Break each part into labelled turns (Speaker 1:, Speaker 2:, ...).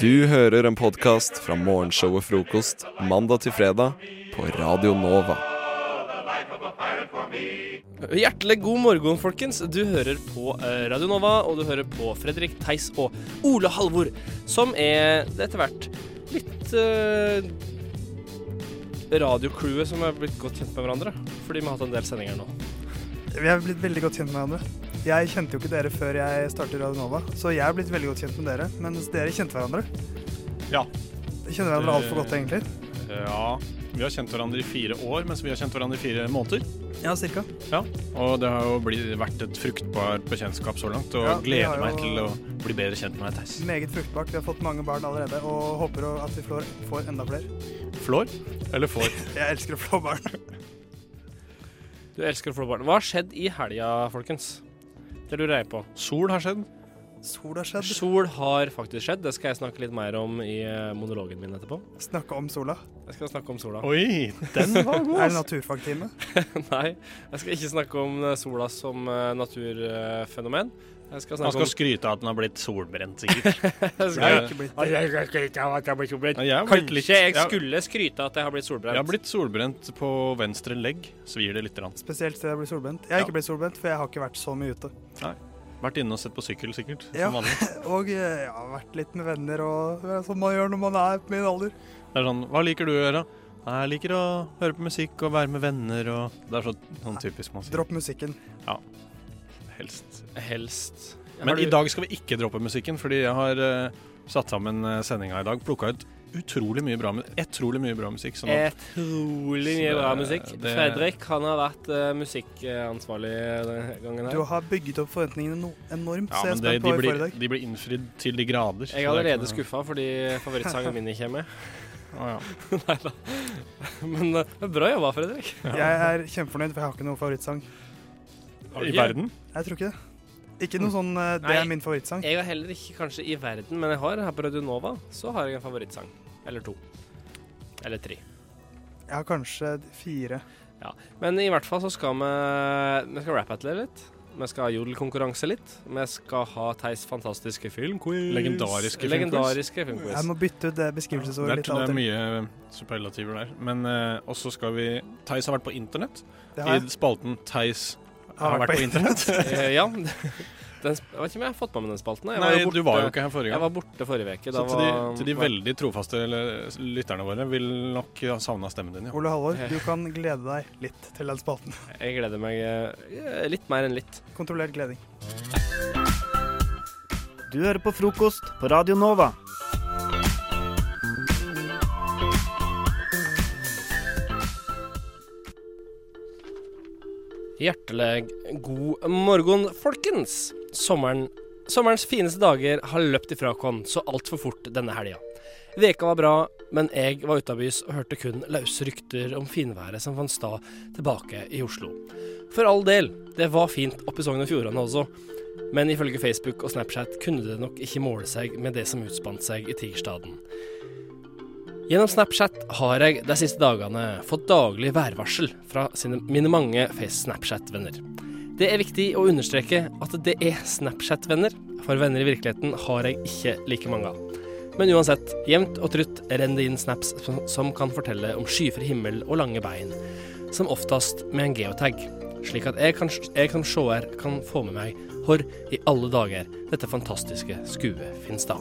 Speaker 1: Du hører en podkast fra morgenshow og frokost mandag til fredag på Radio Nova.
Speaker 2: Hjertelig god morgen, folkens. Du hører på eh, Radio Nova, og du hører på Fredrik Theis og Ole Halvor, som er etter hvert litt eh, radiocrewet som er blitt godt kjent med hverandre. Fordi vi har hatt en del sendinger nå.
Speaker 3: Vi er blitt veldig godt kjent med hverandre. Jeg kjente jo ikke dere før jeg startet Radio Nova, så jeg er blitt veldig godt kjent med dere. Mens dere kjente hverandre.
Speaker 4: Ja.
Speaker 3: Dere kjenner hverandre altfor godt, egentlig.
Speaker 4: Ja. Vi har kjent hverandre i fire år, mens vi har kjent hverandre i fire måneder.
Speaker 3: Ja, cirka.
Speaker 4: Ja. Og det har jo bli- vært et fruktbart bekjentskap så langt, og
Speaker 3: Ja, vi har
Speaker 4: gleder meg
Speaker 3: jo-
Speaker 4: til å bli bedre kjent med deg, Theis.
Speaker 3: Meget fruktbart. Vi har fått mange barn allerede, og håper å- at vi får, får enda flere.
Speaker 4: Flår eller får?
Speaker 3: Jeg elsker å flå barn.
Speaker 2: Du elsker å få barn. Hva har skjedd i helga, folkens? Det lurer jeg på.
Speaker 4: Sol har skjedd.
Speaker 3: Sol har skjedd.
Speaker 2: Sol har faktisk skjedd. Det skal jeg snakke litt mer om i eh, monologen min etterpå.
Speaker 3: Snakke om sola.
Speaker 2: Jeg skal snakke om sola.
Speaker 4: Oi, den var god.
Speaker 3: Er det
Speaker 4: ass.
Speaker 3: naturfagtime?
Speaker 2: Nei, jeg skal ikke snakke om eh, sola som eh, naturfenomen. Jeg skal
Speaker 4: Han
Speaker 2: snakke
Speaker 4: skal
Speaker 2: om
Speaker 4: skryte av at han har blitt solbrent, sikkert.
Speaker 2: jeg
Speaker 3: Jeg
Speaker 2: skal,
Speaker 3: har ikke blitt
Speaker 2: Jeg skal skryte av at jeg har blitt solbrent.
Speaker 4: Jeg har blitt litt-
Speaker 2: Kanskje jeg
Speaker 4: jeg-
Speaker 2: skulle skryte av at jeg har blitt solbrent.
Speaker 4: Jeg har blitt solbrent på venstre legg. Svir det lite grann.
Speaker 3: Spesielt siden jeg ble solbrent. Jeg har ikke blitt solbrent, for jeg har ikke vært så mye ute.
Speaker 4: Vært inne og sett på sykkel, sikkert.
Speaker 3: Ja.
Speaker 4: Som vanlig.
Speaker 3: Og eh, jeg har vært litt med venner, og det er sånn man gjør når man er på min alder.
Speaker 4: Det er sånn Hva liker du å gjøre? Nei, Jeg liker å høre på musikk og være med venner og Det er sånn, sånn typisk man sier.
Speaker 3: Dropp musikken.
Speaker 4: Helst.
Speaker 2: Helst. Har
Speaker 4: Men
Speaker 2: du-
Speaker 4: i dag skal vi ikke droppe musikken, fordi jeg har eh, satt sammen eh, sendinga i dag. Plukka ut utrolig mye bra, mu- utrolig mye bra musikk. Sånn at
Speaker 2: Utrolig
Speaker 4: Så
Speaker 2: mye bra
Speaker 4: det-
Speaker 2: musikk.
Speaker 4: det-
Speaker 2: Fredrik han har vært eh, musikkansvarlig denne gangen
Speaker 3: Du
Speaker 2: her.
Speaker 3: har bygget opp forventningene no enormt,
Speaker 4: ja,
Speaker 3: så jeg er
Speaker 4: men det,
Speaker 3: spent på
Speaker 4: de,
Speaker 3: hva vi får
Speaker 4: blir,
Speaker 3: i dag.
Speaker 4: de blir innfridd til de grader.
Speaker 2: Jeg er allerede skuffa fordi favorittsangen min ikke er med.
Speaker 4: Oh, ja.
Speaker 2: Nei da. Men eh, det er bra jobba, Fredrik.
Speaker 3: Jeg er kjempefornøyd, for jeg har ikke noen favorittsang.
Speaker 4: I verden?
Speaker 3: Jeg tror ikke det. Ikke
Speaker 4: Mm.
Speaker 3: noe sånn eh, 'det
Speaker 2: Nei.
Speaker 3: er min favorittsang'.
Speaker 2: Jeg har heller ikke kanskje i verden, men jeg har her på Radio Nova så har jeg en favorittsang. Eller to. Eller tre.
Speaker 3: Jeg har kanskje fire.
Speaker 2: Men i hvert fall så skal vi Vi skal rappe etter litt. Vi skal ha jodelkonkurranse litt. Vi skal ha Theis fantastiske filmquiz.
Speaker 4: Legendariske filmquiz.
Speaker 2: Legendariske filmquiz.
Speaker 3: Jeg må bytte ut det
Speaker 4: det
Speaker 3: beskrivelsesordet
Speaker 4: er,
Speaker 3: litt
Speaker 4: det
Speaker 3: av
Speaker 4: er
Speaker 3: og til.
Speaker 4: mye superlativer der. Men eh, også skal vi Theis har vært på internett.
Speaker 3: Det
Speaker 4: I
Speaker 3: har jeg.
Speaker 4: spalten Theis har vært på internett.
Speaker 2: Eh, ja. Den, sp- jeg vet ikke om jeg har fått med meg den spalten. Jeg
Speaker 4: Nei,
Speaker 2: jo
Speaker 4: du
Speaker 2: borte-
Speaker 4: var jo ikke her forrige gang.
Speaker 2: Jeg var borte forrige uke.
Speaker 4: Så
Speaker 2: Da
Speaker 4: til de,
Speaker 2: var-
Speaker 4: til de veldig trofaste l- lytterne våre vil nok ha savna stemmen din, ja.
Speaker 3: Ole Halvor, du kan glede deg litt til den spalten.
Speaker 2: Jeg gleder meg eh, litt mer enn litt.
Speaker 3: Kontrollert gleding.
Speaker 5: Du hører på frokost på Radio Nova.
Speaker 2: Hjertelig god morgen, folkens. Sommeren, sommerens fineste dager har løpt ifra oss så altfor fort denne helga. Veka var bra, men jeg var utabys og hørte kun løse rykter om finværet som fant stad tilbake i Oslo. For all del, det var fint oppe i Sogn og Fjordane også, men ifølge Facebook og Snapchat kunne det nok ikke måle seg med det som utspant seg i tirsdagen. Gjennom Snapchat har jeg de siste dagene fått daglig værvarsel fra sine, mine mange Snapchat-venner. Det er viktig å understreke at det er Snapchat-venner, for venner i virkeligheten har jeg ikke like mange av. Men uansett, jevnt og trutt renner det inn snaps som- som kan fortelle om skyfri himmel og lange bein, som oftest med en geotag, slik at jeg, kan, jeg som seer kan få med meg hvor i alle dager dette fantastiske skue finnes da.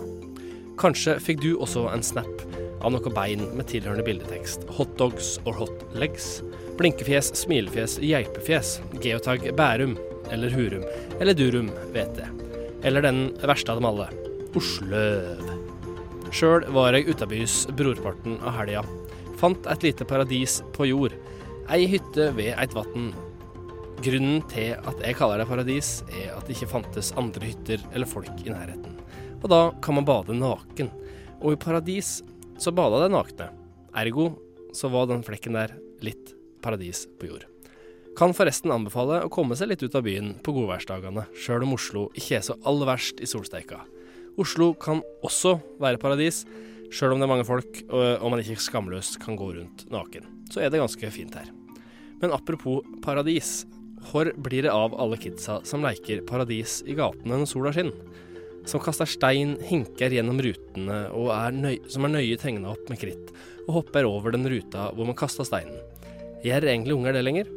Speaker 2: Kanskje fikk du også en snap av noe bein med tilhørende bildetekst. Hotdogs or hot legs. Blinkefjes, smilefjes, geipefjes. Geotag Bærum. Eller Hurum. Eller Durum, vet jeg. Eller den verste av dem alle. Osløv. Sjøl var jeg utabys brorparten av helga. Fant et lite paradis på jord. Ei hytte ved eit vatn. Grunnen til at jeg kaller det paradis, er at det ikke fantes andre hytter eller folk i nærheten. Og da kan man bade naken. Og i paradis så bada de nakne. Ergo så var den flekken der litt paradis på jord. Kan forresten anbefale å komme seg litt ut av byen på godværsdagene, sjøl om Oslo ikke er så aller verst i solsteika. Oslo kan også være paradis, sjøl om det er mange folk og, og man ikke skamløst kan gå rundt naken. Så er det ganske fint her. Men apropos paradis. Hvor blir det av alle kidsa som leker paradis i gatene når sola skinner? som kaster stein, hinker gjennom rutene og er nøy, som er nøye tegna opp med kritt, og hopper over den ruta hvor man kasta steinen. Gjør egentlig unger det lenger?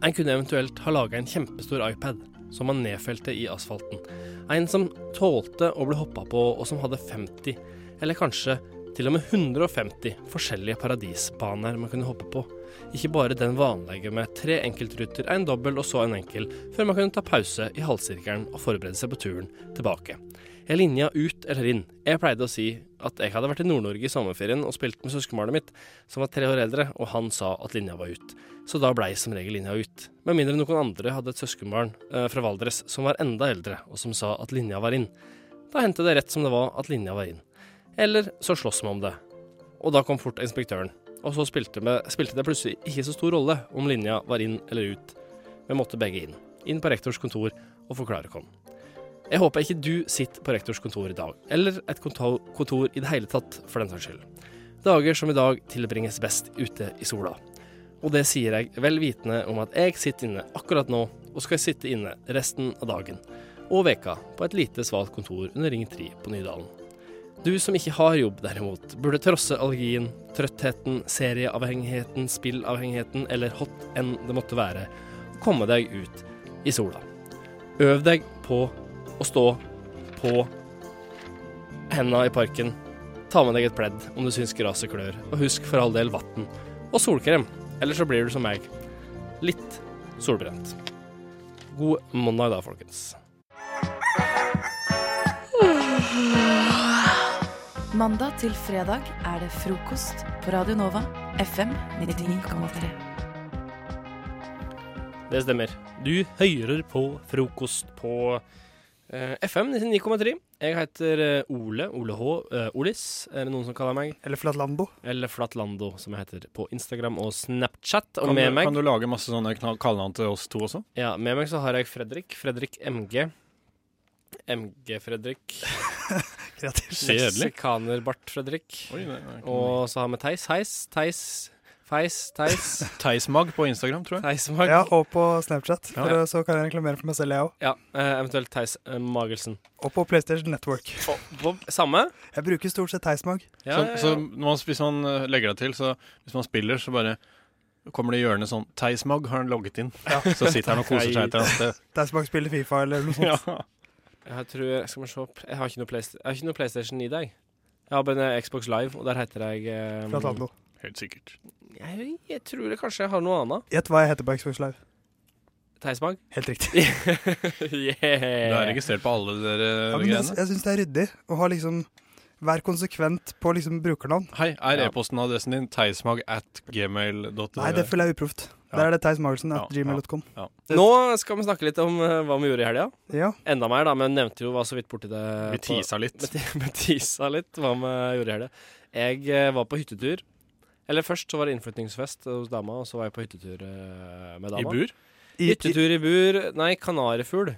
Speaker 2: En kunne eventuelt ha laga en kjempestor iPad som man nedfelte i asfalten. En som tålte å bli hoppa på, og som hadde 50, eller kanskje til og med 150 forskjellige paradisbaner man kunne hoppe på. Ikke bare den vanlige med tre enkeltruter, en dobbel og så en enkel, før man kunne ta pause i halvsirkelen og forberede seg på turen tilbake. Er linja ut eller inn? Jeg pleide å si at jeg hadde vært i Nord-Norge i sommerferien og spilt med søskenbarnet mitt, som var tre år eldre, og han sa at linja var ut. Så da blei som regel linja ut. Med mindre noen andre hadde et søskenbarn eh, fra Valdres som var enda eldre, og som sa at linja var inn. Da hendte det rett som det var at linja var inn. Eller så sloss vi om det. Og da kom fort inspektøren. Og så spilte, vi, spilte det plutselig ikke så stor rolle om linja var inn eller ut. Vi måtte begge inn. Inn på rektors kontor og forklare oss. Jeg håper ikke du sitter på rektors kontor i dag, eller et kontor, kontor i det hele tatt, for den saks skyld. Dager som i dag tilbringes best ute i sola. Og det sier jeg vel vitende om at jeg sitter inne akkurat nå, og skal sitte inne resten av dagen og veka på et lite, svalt kontor under Ring 3 på Nydalen. Du som ikke har jobb, derimot, burde trosse allergien, trøttheten, serieavhengigheten, spillavhengigheten eller hot enn det måtte være, og komme deg ut i sola. Øv deg på å stå på henda i parken. Ta med deg et pledd om du syns gresset klør, og husk for all del vann og solkrem, ellers så blir du som meg. Litt solbrent. God mandag da, folkens.
Speaker 6: Mandag til fredag er det frokost på Radio Nova FM 99,3.
Speaker 2: Det stemmer. Du hører på frokost på eh, FM 99,3. Jeg heter eh, Ole, Ole H, eh, Olis, er det noen som kaller meg.
Speaker 3: Eller Flatlando.
Speaker 2: Eller Flatlando, som jeg heter på Instagram og Snapchat. Og
Speaker 4: Kan,
Speaker 2: med
Speaker 4: du-
Speaker 2: meg,
Speaker 4: kan du lage masse sånne knall- kallenavn til oss to også?
Speaker 2: ja, med meg så har jeg Fredrik. Fredrik MG. MG-Fredrik.
Speaker 3: Kreativt.
Speaker 4: Kjedelig.
Speaker 2: Leksikanerbart-Fredrik.
Speaker 4: Oi, det er ikke noe.
Speaker 2: Og så har vi Theis. Heis, Theis, Feis, Theis.
Speaker 4: Theismag på Instagram, tror jeg.
Speaker 2: Theismag.
Speaker 3: Ja,
Speaker 2: Ja,
Speaker 3: og på Snapchat, for
Speaker 4: Ja.
Speaker 3: å- så kan jeg reklamere for meg selv, jeg òg.
Speaker 2: eh, eventuelt Theis eh, Magelsen.
Speaker 3: Og på PlayStation Network.
Speaker 2: Bob, samme?
Speaker 3: Jeg bruker stort sett Theismag.
Speaker 2: Ja, ja, ja.
Speaker 4: Så, så når man, hvis man eh, legger deg til, så hvis man spiller, så bare kommer det i hjørnet sånn Theismag har han logget inn. Så sitter han og koser seg et eller annet sted.
Speaker 3: Theismag spiller Fifa eller noe sånt.
Speaker 4: Ja.
Speaker 2: Jeg tror, skal vi se opp. Jeg har ikke noe, Playsta- jeg har ikke noe PlayStation i dag. Jeg har bare en Xbox Live, og der heter jeg eh,
Speaker 3: Flatlando.
Speaker 4: Helt sikkert.
Speaker 2: jeg, jeg tror det kanskje jeg har noe annet.
Speaker 3: Gjett hva jeg heter på Xbox Live.
Speaker 2: Theismag.
Speaker 3: Helt riktig.
Speaker 4: Du er
Speaker 2: yeah.
Speaker 4: registrert på alle dere
Speaker 3: Ja, men jeg
Speaker 4: greiene.
Speaker 3: jeg syns det er ryddig å ha liksom Vær konsekvent på liksom brukernavn.
Speaker 4: Hei, er
Speaker 2: Ja.
Speaker 4: e-posten adressen din theismag at gmail.no?
Speaker 3: Nei, det føler jeg er uproft. Der er det Theis Magelsen at
Speaker 4: Ja, ja.
Speaker 3: gmail.com.
Speaker 2: Nå skal vi snakke litt om eh, hva vi gjorde i helga.
Speaker 3: Ja.
Speaker 2: Enda mer, da, men nevnte jo hva så vidt borti det.
Speaker 4: Vi
Speaker 2: på-
Speaker 4: tisa litt.
Speaker 2: Vi vi tisa litt hva vi gjorde i helga. Jeg eh, var på hyttetur. Eller først så var det innflyttingsfest hos dama, og så var jeg på hyttetur eh, med
Speaker 4: I
Speaker 2: dama.
Speaker 4: bur?
Speaker 3: I, i,
Speaker 2: Hyttetur i bur. Nei, kanarifugl.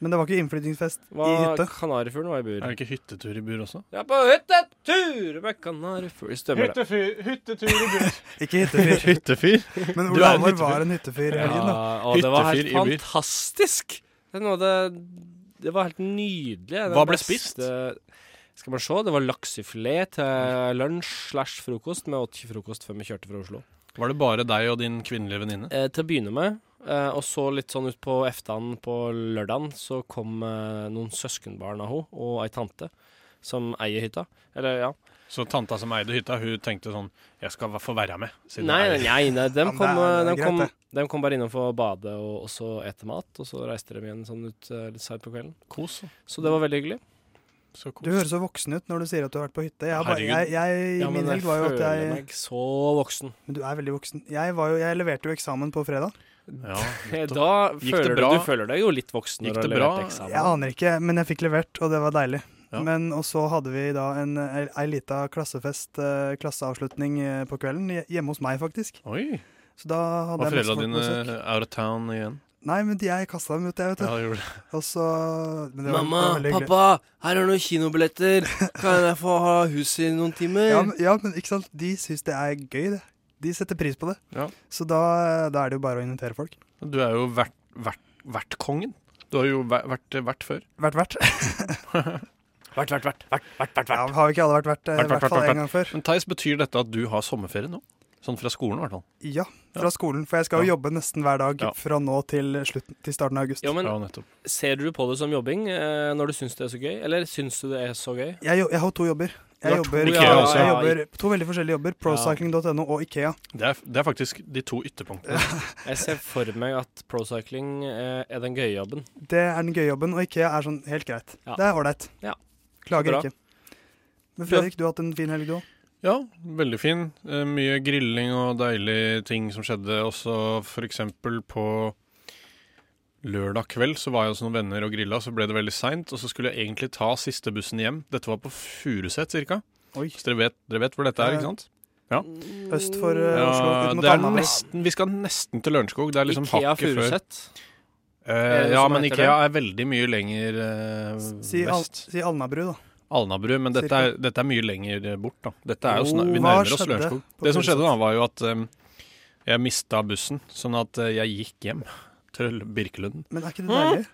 Speaker 3: men det var ikke innflyttingsfest i
Speaker 2: Hva-
Speaker 3: hytte.
Speaker 2: Kanarifuglen var i bur.
Speaker 4: Er det ikke hyttetur i bur også?
Speaker 2: Ja, på hyttetur med kanarifugl. Stemmer det.
Speaker 4: Hyttetur i bur.
Speaker 3: Ikke hyttefyr.
Speaker 4: Hyttefyr?
Speaker 3: Men
Speaker 4: Du
Speaker 3: Ole
Speaker 4: er en
Speaker 3: Halvor
Speaker 4: hyttefyr.
Speaker 3: var en hyttefyr i helgen, da.
Speaker 2: og det var helt
Speaker 4: Hyttefyr i by.
Speaker 2: fantastisk! Det, er noe av det, det var helt nydelig. Det
Speaker 4: Hva ble
Speaker 2: beste- Skal man se, det var laksefilet til lunsj slash frokost. Vi åt ikke frokost før vi kjørte fra Oslo.
Speaker 4: Var det bare deg og din kvinnelige venninne?
Speaker 2: Eh, til å begynne med, eh, og så litt sånn utpå eftan på lørdagen, så kom eh, noen søskenbarn av henne og ei tante som eier hytta. Eller, ja.
Speaker 4: Så tanta som eide hytta, hun tenkte sånn Jeg skal få være med. siden
Speaker 2: Nei, nei,
Speaker 4: jeg er-
Speaker 2: nei, nei
Speaker 3: Ja,
Speaker 2: dem,
Speaker 3: men
Speaker 2: kom,
Speaker 3: det
Speaker 2: eh,
Speaker 3: er- det er
Speaker 2: dem,
Speaker 3: greit,
Speaker 2: kom,
Speaker 3: det.
Speaker 2: dem kom bare innom for å bade og, og så ete mat, og så reiste de igjen sånn ut eh, litt seint på kvelden.
Speaker 4: Kos.
Speaker 2: Så det var veldig hyggelig.
Speaker 4: Så
Speaker 3: Du
Speaker 4: kos.
Speaker 3: høres så voksen ut når du sier at du har vært på hytte. Jeg, har bare,
Speaker 4: Herregud.
Speaker 3: jeg, jeg,
Speaker 2: Ja, men
Speaker 3: min
Speaker 2: jeg
Speaker 3: helg var jo
Speaker 2: føler
Speaker 3: at jeg
Speaker 2: meg så voksen.
Speaker 3: Men du er veldig voksen. Jeg, var jo, jeg leverte jo eksamen på fredag.
Speaker 4: Ja, nettopp.
Speaker 2: Da
Speaker 4: Gikk det
Speaker 2: føler du,
Speaker 4: bra?
Speaker 2: du føler deg jo litt voksen
Speaker 4: Gikk
Speaker 2: når du har
Speaker 4: det bra?
Speaker 2: levert eksamen.
Speaker 3: Jeg aner ikke, men jeg fikk levert, og det var deilig.
Speaker 4: Ja.
Speaker 3: Men, og så hadde vi da en, eh, ei lita klassefest, eh, klasseavslutning eh, på kvelden, hje- hjemme hos meg faktisk.
Speaker 4: Oi.
Speaker 3: Så da hadde
Speaker 4: Var
Speaker 3: jeg masse
Speaker 4: foreldra
Speaker 3: folk på
Speaker 4: dine
Speaker 3: besøk.
Speaker 4: out of town igjen?
Speaker 3: Nei, men de- jeg kasta dem ut, jeg, vet du.
Speaker 4: Ja, det gjorde det.
Speaker 3: Og så men det var-
Speaker 2: Mamma,
Speaker 3: det var veldig hyggelig.
Speaker 2: pappa, her er noen kinobilletter. Kan jeg få ha huset i noen timer?
Speaker 3: Ja, men, ja, men ikke sant? De syns det er gøy, det. De setter pris på det.
Speaker 4: Ja.
Speaker 3: Så da, da er det jo bare å invitere folk.
Speaker 4: Du er jo vert, vert, vertkongen. Du har jo væ- vært vert før.
Speaker 3: Vært vert?
Speaker 2: Hvert, hvert, hvert. hvert, hvert, hvert,
Speaker 3: Ja, har vi ikke alle vært vert? I
Speaker 4: Vært vert,
Speaker 3: hvert fall
Speaker 4: vært,
Speaker 3: en gang før.
Speaker 4: Men Theis, betyr dette at du har sommerferie nå? Sånn fra skolen, i hvert fall.
Speaker 3: Ja, fra skolen. For jeg skal jo
Speaker 4: Ja.
Speaker 3: jobbe nesten hver dag
Speaker 4: Ja.
Speaker 3: fra nå til, slutten, til starten av august.
Speaker 2: Jo, men
Speaker 4: Ja, nettopp.
Speaker 2: ser du på det som jobbing eh, når du syns det er så gøy, eller syns du det er så gøy?
Speaker 3: Jeg, jo- jeg har to jobber. Jeg
Speaker 2: Du har to,
Speaker 3: jobber,
Speaker 4: ja, ja,
Speaker 3: jeg
Speaker 2: ja.
Speaker 3: jobber to veldig forskjellige jobber. Procycling.no og Ikea.
Speaker 4: Det er, det er faktisk de to ytterpunktene.
Speaker 2: Jeg ser for meg at procycling eh, er den gøye jobben.
Speaker 3: Det er den gøye jobben, og Ikea er sånn helt greit.
Speaker 2: Ja.
Speaker 3: Det er ålreit.
Speaker 2: Ja.
Speaker 3: Klager
Speaker 2: Bra.
Speaker 3: ikke. Men Fredrik, du har hatt en fin helg, du òg.
Speaker 4: Ja, veldig fin. Eh, Mye grilling og deilige ting som skjedde. Også for eksempel på lørdag kveld så var jeg hos noen venner og grilla, så ble det veldig seint. Og så skulle jeg egentlig ta siste bussen hjem. Dette var på Furuset cirka.
Speaker 3: Oi.
Speaker 4: Så dere vet, dere vet hvor dette er,
Speaker 3: Ja, ja.
Speaker 4: ikke sant?
Speaker 3: Øst for eh, Oslo,
Speaker 4: Ja,
Speaker 3: ut mot
Speaker 4: det er
Speaker 3: Alnabru.
Speaker 4: nesten, vi skal nesten til Lørenskog. Det er liksom
Speaker 2: Ikea
Speaker 4: hakket før.
Speaker 2: Furuset.
Speaker 4: Eh,
Speaker 2: Er det
Speaker 4: ja,
Speaker 2: som
Speaker 4: men
Speaker 2: heter
Speaker 4: Ikea er veldig mye lenger eh,
Speaker 3: Si, Al
Speaker 4: vest.
Speaker 3: si Alnabru, da.
Speaker 4: Alnabru, men dette
Speaker 3: Cirka.
Speaker 4: er, dette er mye lenger bort, da. Dette er jo
Speaker 3: Oh,
Speaker 4: snar, vi
Speaker 3: hva
Speaker 4: nærmer oss
Speaker 3: skjedde
Speaker 4: Lørenskog.
Speaker 3: på
Speaker 4: Det som
Speaker 3: Furuset?
Speaker 4: skjedde da, var jo at eh, jeg mista bussen, sånn at eh, jeg gikk hjem til Birkelunden.
Speaker 3: Men er ikke det deilig?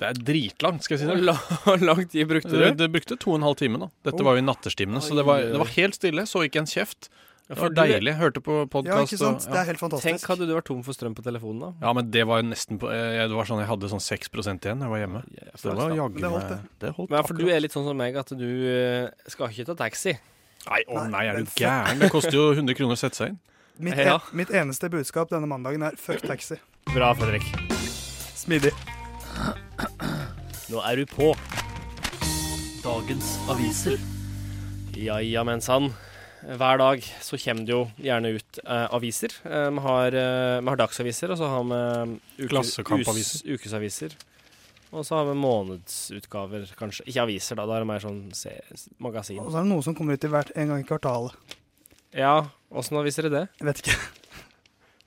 Speaker 4: Det er dritlangt, skal jeg si
Speaker 2: Hvor
Speaker 4: deg.
Speaker 2: la- Hvor lang tid brukte du?
Speaker 4: Det, det brukte to og en halv time, da.
Speaker 3: Oh.
Speaker 4: Dette var jo i nattestimene, så det var, det var helt stille. Så ikke en kjeft. Det
Speaker 2: For
Speaker 4: var
Speaker 2: du-
Speaker 4: deilig. Hørte på
Speaker 3: Ja,
Speaker 4: podkast
Speaker 3: ikke sant?
Speaker 4: og
Speaker 3: Det
Speaker 4: ja.
Speaker 3: er helt
Speaker 2: Tenk
Speaker 3: fantastisk.
Speaker 2: hadde du vært tom for strøm på telefonen da.
Speaker 4: ja, men det var jo nesten på eh, jeg- Det var sånn jeg hadde sånn 6 igjen da jeg var hjemme. Så det var jaggu
Speaker 3: Men det holdt,
Speaker 4: meg- Det holdt
Speaker 2: Men ja, for du
Speaker 4: akkurat.
Speaker 2: er litt sånn som meg at du eh, skal ikke ta taxi.
Speaker 4: Nei, å
Speaker 3: Nei,
Speaker 4: nei, er
Speaker 3: den
Speaker 4: du gæren? Det koster jo 100 kroner å sette seg inn.
Speaker 3: Mitt,
Speaker 2: Ja.
Speaker 3: en, mitt eneste budskap denne mandagen er fuck taxi.
Speaker 2: Bra, Fredrik.
Speaker 3: Smidig.
Speaker 2: Nå er du på.
Speaker 5: Dagens aviser.
Speaker 2: Ja, ja, men sann. Hver dag så kommer det jo gjerne ut eh, aviser. Eh, Vi har, eh, vi har dagsaviser, og så har vi eh, uke,
Speaker 4: Klassekampaviser.
Speaker 2: us- ukesaviser. Og så har vi månedsutgaver, kanskje. Ikke aviser, da. Da er det mer sånn se, magasin.
Speaker 3: Og så er det noe som kommer ut i hvert en gang i kvartalet.
Speaker 2: Ja, åssen aviser er det?
Speaker 3: Jeg vet ikke.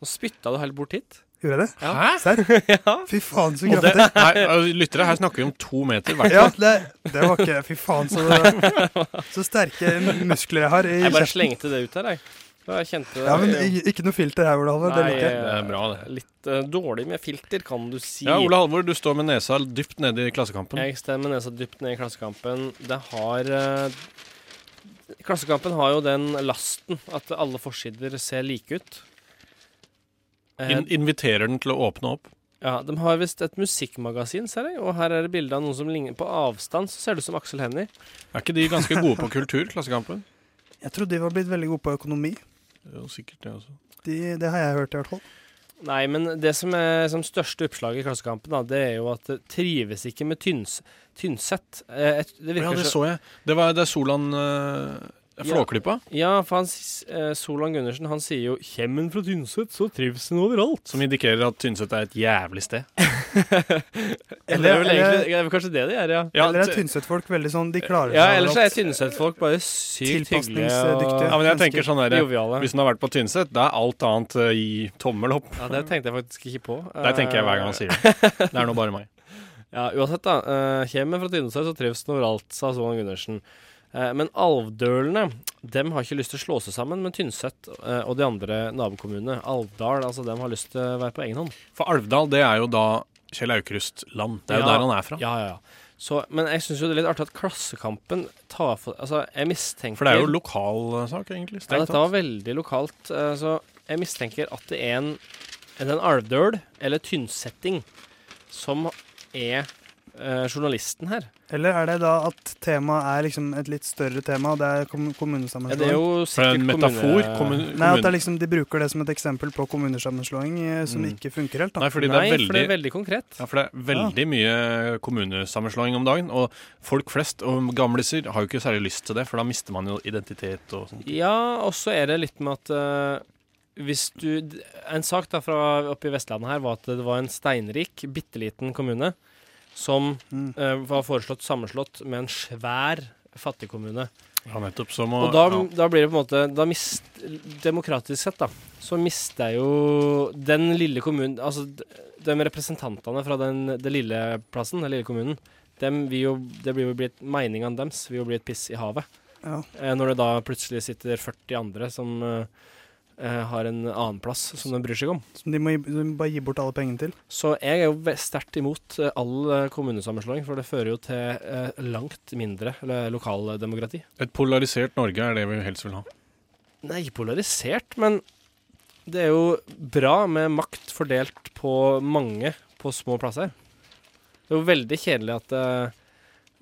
Speaker 2: Nå spytta du helt bort hit.
Speaker 3: Gjorde jeg det?
Speaker 2: Ja.
Speaker 3: Serr?
Speaker 2: Ja.
Speaker 3: Fy faen, så
Speaker 4: Og det,
Speaker 3: kraftig.
Speaker 4: nei, altså, lyttere, her snakker vi om to meter hvert.
Speaker 3: Ja, det, det var ikke Fy faen, så, så sterke muskler jeg har i
Speaker 2: Jeg bare
Speaker 3: kjeften.
Speaker 2: slengte det ut der, jeg. Da jeg kjente det.
Speaker 3: Ja, men i- ikke noe filter her, Ole Halvor. Det
Speaker 2: Nei,
Speaker 3: liker jeg.
Speaker 4: Det er bra, det.
Speaker 2: Litt eh, dårlig med filter, kan du si.
Speaker 4: Ja, Ole Halvor, du står med nesa dypt nede i Klassekampen.
Speaker 2: Jeg stemmer nesa dypt ned i Klassekampen. Det har eh, Klassekampen har jo den lasten at alle forsider ser like ut. Eh,
Speaker 4: In inviterer den til å åpne opp.
Speaker 2: ja, de har visst et musikkmagasin, ser jeg, og her er det bilde av noen som ligner På avstand så ser det ut som Aksel Hennie.
Speaker 4: Er ikke de ganske gode på kultur, Klassekampen?
Speaker 3: Jeg trodde de var blitt veldig gode på økonomi.
Speaker 4: Jo, sikkert det også.
Speaker 3: De, det har jeg hørt, i hvert fall.
Speaker 2: Nei, men det som er som største oppslag i Klassekampen, da, det er jo at det trives ikke med tyns, Tynset. Eh, et- det
Speaker 4: Ja,
Speaker 2: virker
Speaker 4: det
Speaker 2: så
Speaker 4: så jeg. Det, var, det er Solan eh, Flåklypa,
Speaker 2: Ja, for han, s- eh, Solan Gundersen han sier jo 'Kjemmen fra Tynset, så trives en overalt'.
Speaker 4: som indikerer at Tynset er et jævlig sted.
Speaker 2: Eller, det er vel
Speaker 3: Eller-
Speaker 2: egentlig, det er vel kanskje det det gjør, ja.
Speaker 4: Ja,
Speaker 3: Eller er
Speaker 4: t-
Speaker 3: Tynset-folk veldig sånn De klarer
Speaker 2: Ja,
Speaker 3: seg
Speaker 2: ellers er
Speaker 3: overalt.
Speaker 2: Tynset-folk bare sykt hyggelige
Speaker 3: Tilpasningsdyktige.
Speaker 4: ja,
Speaker 2: og
Speaker 4: men jeg tenker sånn der,
Speaker 2: joviale.
Speaker 4: Hvis den har vært på Tynset, da er alt annet eh, i tommel opp.
Speaker 2: Ja, det tenkte jeg faktisk ikke på.
Speaker 4: Der tenker jeg hver gang han sier det. Det er nå bare meg.
Speaker 2: Ja, uansett, da. eh, Kjem fra Tynset, så trives den overalt, sa Solan Gundersen. Eh, Men alvdølene dem har ikke lyst til å slå seg sammen med Tynset eh, og de andre nabokommunene. Alvdal altså, dem har lyst til å være på egen hånd.
Speaker 4: For Alvdal, det er jo da Kjell Aukrust land. Det er jo
Speaker 2: Ja.
Speaker 4: der han er fra.
Speaker 2: Ja, ja, ja. Så, men jeg syns jo det er litt artig at Klassekampen tar for Altså, jeg mistenker
Speaker 4: For det er jo lokalsak, egentlig.
Speaker 2: Ja,
Speaker 4: Strengt
Speaker 2: dette var veldig lokalt, eh, så jeg mistenker at det er en, en alvdøl, eller tynnsetting, som er eh, journalisten her.
Speaker 3: Eller er det da at temaet er liksom et litt større tema, og det er kom-
Speaker 2: Ja, det er
Speaker 3: kommunesammenslåing?
Speaker 2: jo
Speaker 4: For det
Speaker 2: sikkert
Speaker 4: er en metafor.
Speaker 2: kommune-
Speaker 4: Kommun,
Speaker 3: Nei, at det
Speaker 4: kommune-
Speaker 3: er liksom, de bruker det som et eksempel på kommunesammenslåing eh, som
Speaker 4: Mm.
Speaker 3: ikke funker helt. da.
Speaker 4: Nei, fordi det
Speaker 2: Nei,
Speaker 4: er
Speaker 2: for det er
Speaker 4: veldig
Speaker 2: veldig konkret.
Speaker 4: ja, for det er veldig mye kommunesammenslåing om dagen. Og folk flest og gamliser har jo ikke særlig lyst til det, for da mister man jo identitet og sånn.
Speaker 2: Ja, og så er det litt med at eh, hvis du d- En sak da fra oppe i Vestlandet her var at det var en steinrik, bitte liten kommune som
Speaker 3: Mm.
Speaker 2: eh, var foreslått sammenslått med en svær fattigkommune.
Speaker 4: Ja, nettopp. Så må
Speaker 2: Og da,
Speaker 4: ja.
Speaker 2: da blir det på en måte da mist, Demokratisk sett, da, så mister jeg jo den lille kommunen Altså, d- de representantene fra den, den lille plassen, den lille kommunen, dem vil jo, det blir jo blitt meningene deres vil jo bli et piss i havet.
Speaker 3: Ja.
Speaker 2: Eh, når det da plutselig sitter 40 andre som eh, eh, har en annen plass som de bryr seg om.
Speaker 3: Som de må, gi, de må bare gi bort alle pengene
Speaker 4: Sånn
Speaker 3: til.
Speaker 2: Så jeg er jo ve- sterkt imot eh, all eh, kommunesammenslåing, for det fører jo til eh, langt mindre eller, lokaldemokrati.
Speaker 4: Et polarisert Norge er det vi helst vil ha.
Speaker 2: Nei, polarisert, men det er jo bra med makt fordelt på mange på små plasser. Det er jo veldig kjedelig at eh,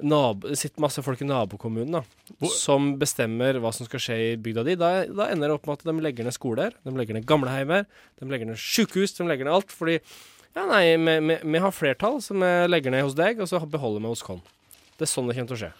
Speaker 2: nab det sitter masse folk i nabokommunen da,
Speaker 4: Hvor-
Speaker 2: som bestemmer hva som skal skje i bygda di. Da, da ender det opp med at de legger ned skoler, de legger ned gamleheimer, de legger ned sykehus, de legger ned alt. Fordi ja, nei, vi, vi, vi har flertall, så vi legger ned hos deg, og så beholder vi hos Kon. Det er sånn det kommer til å skje.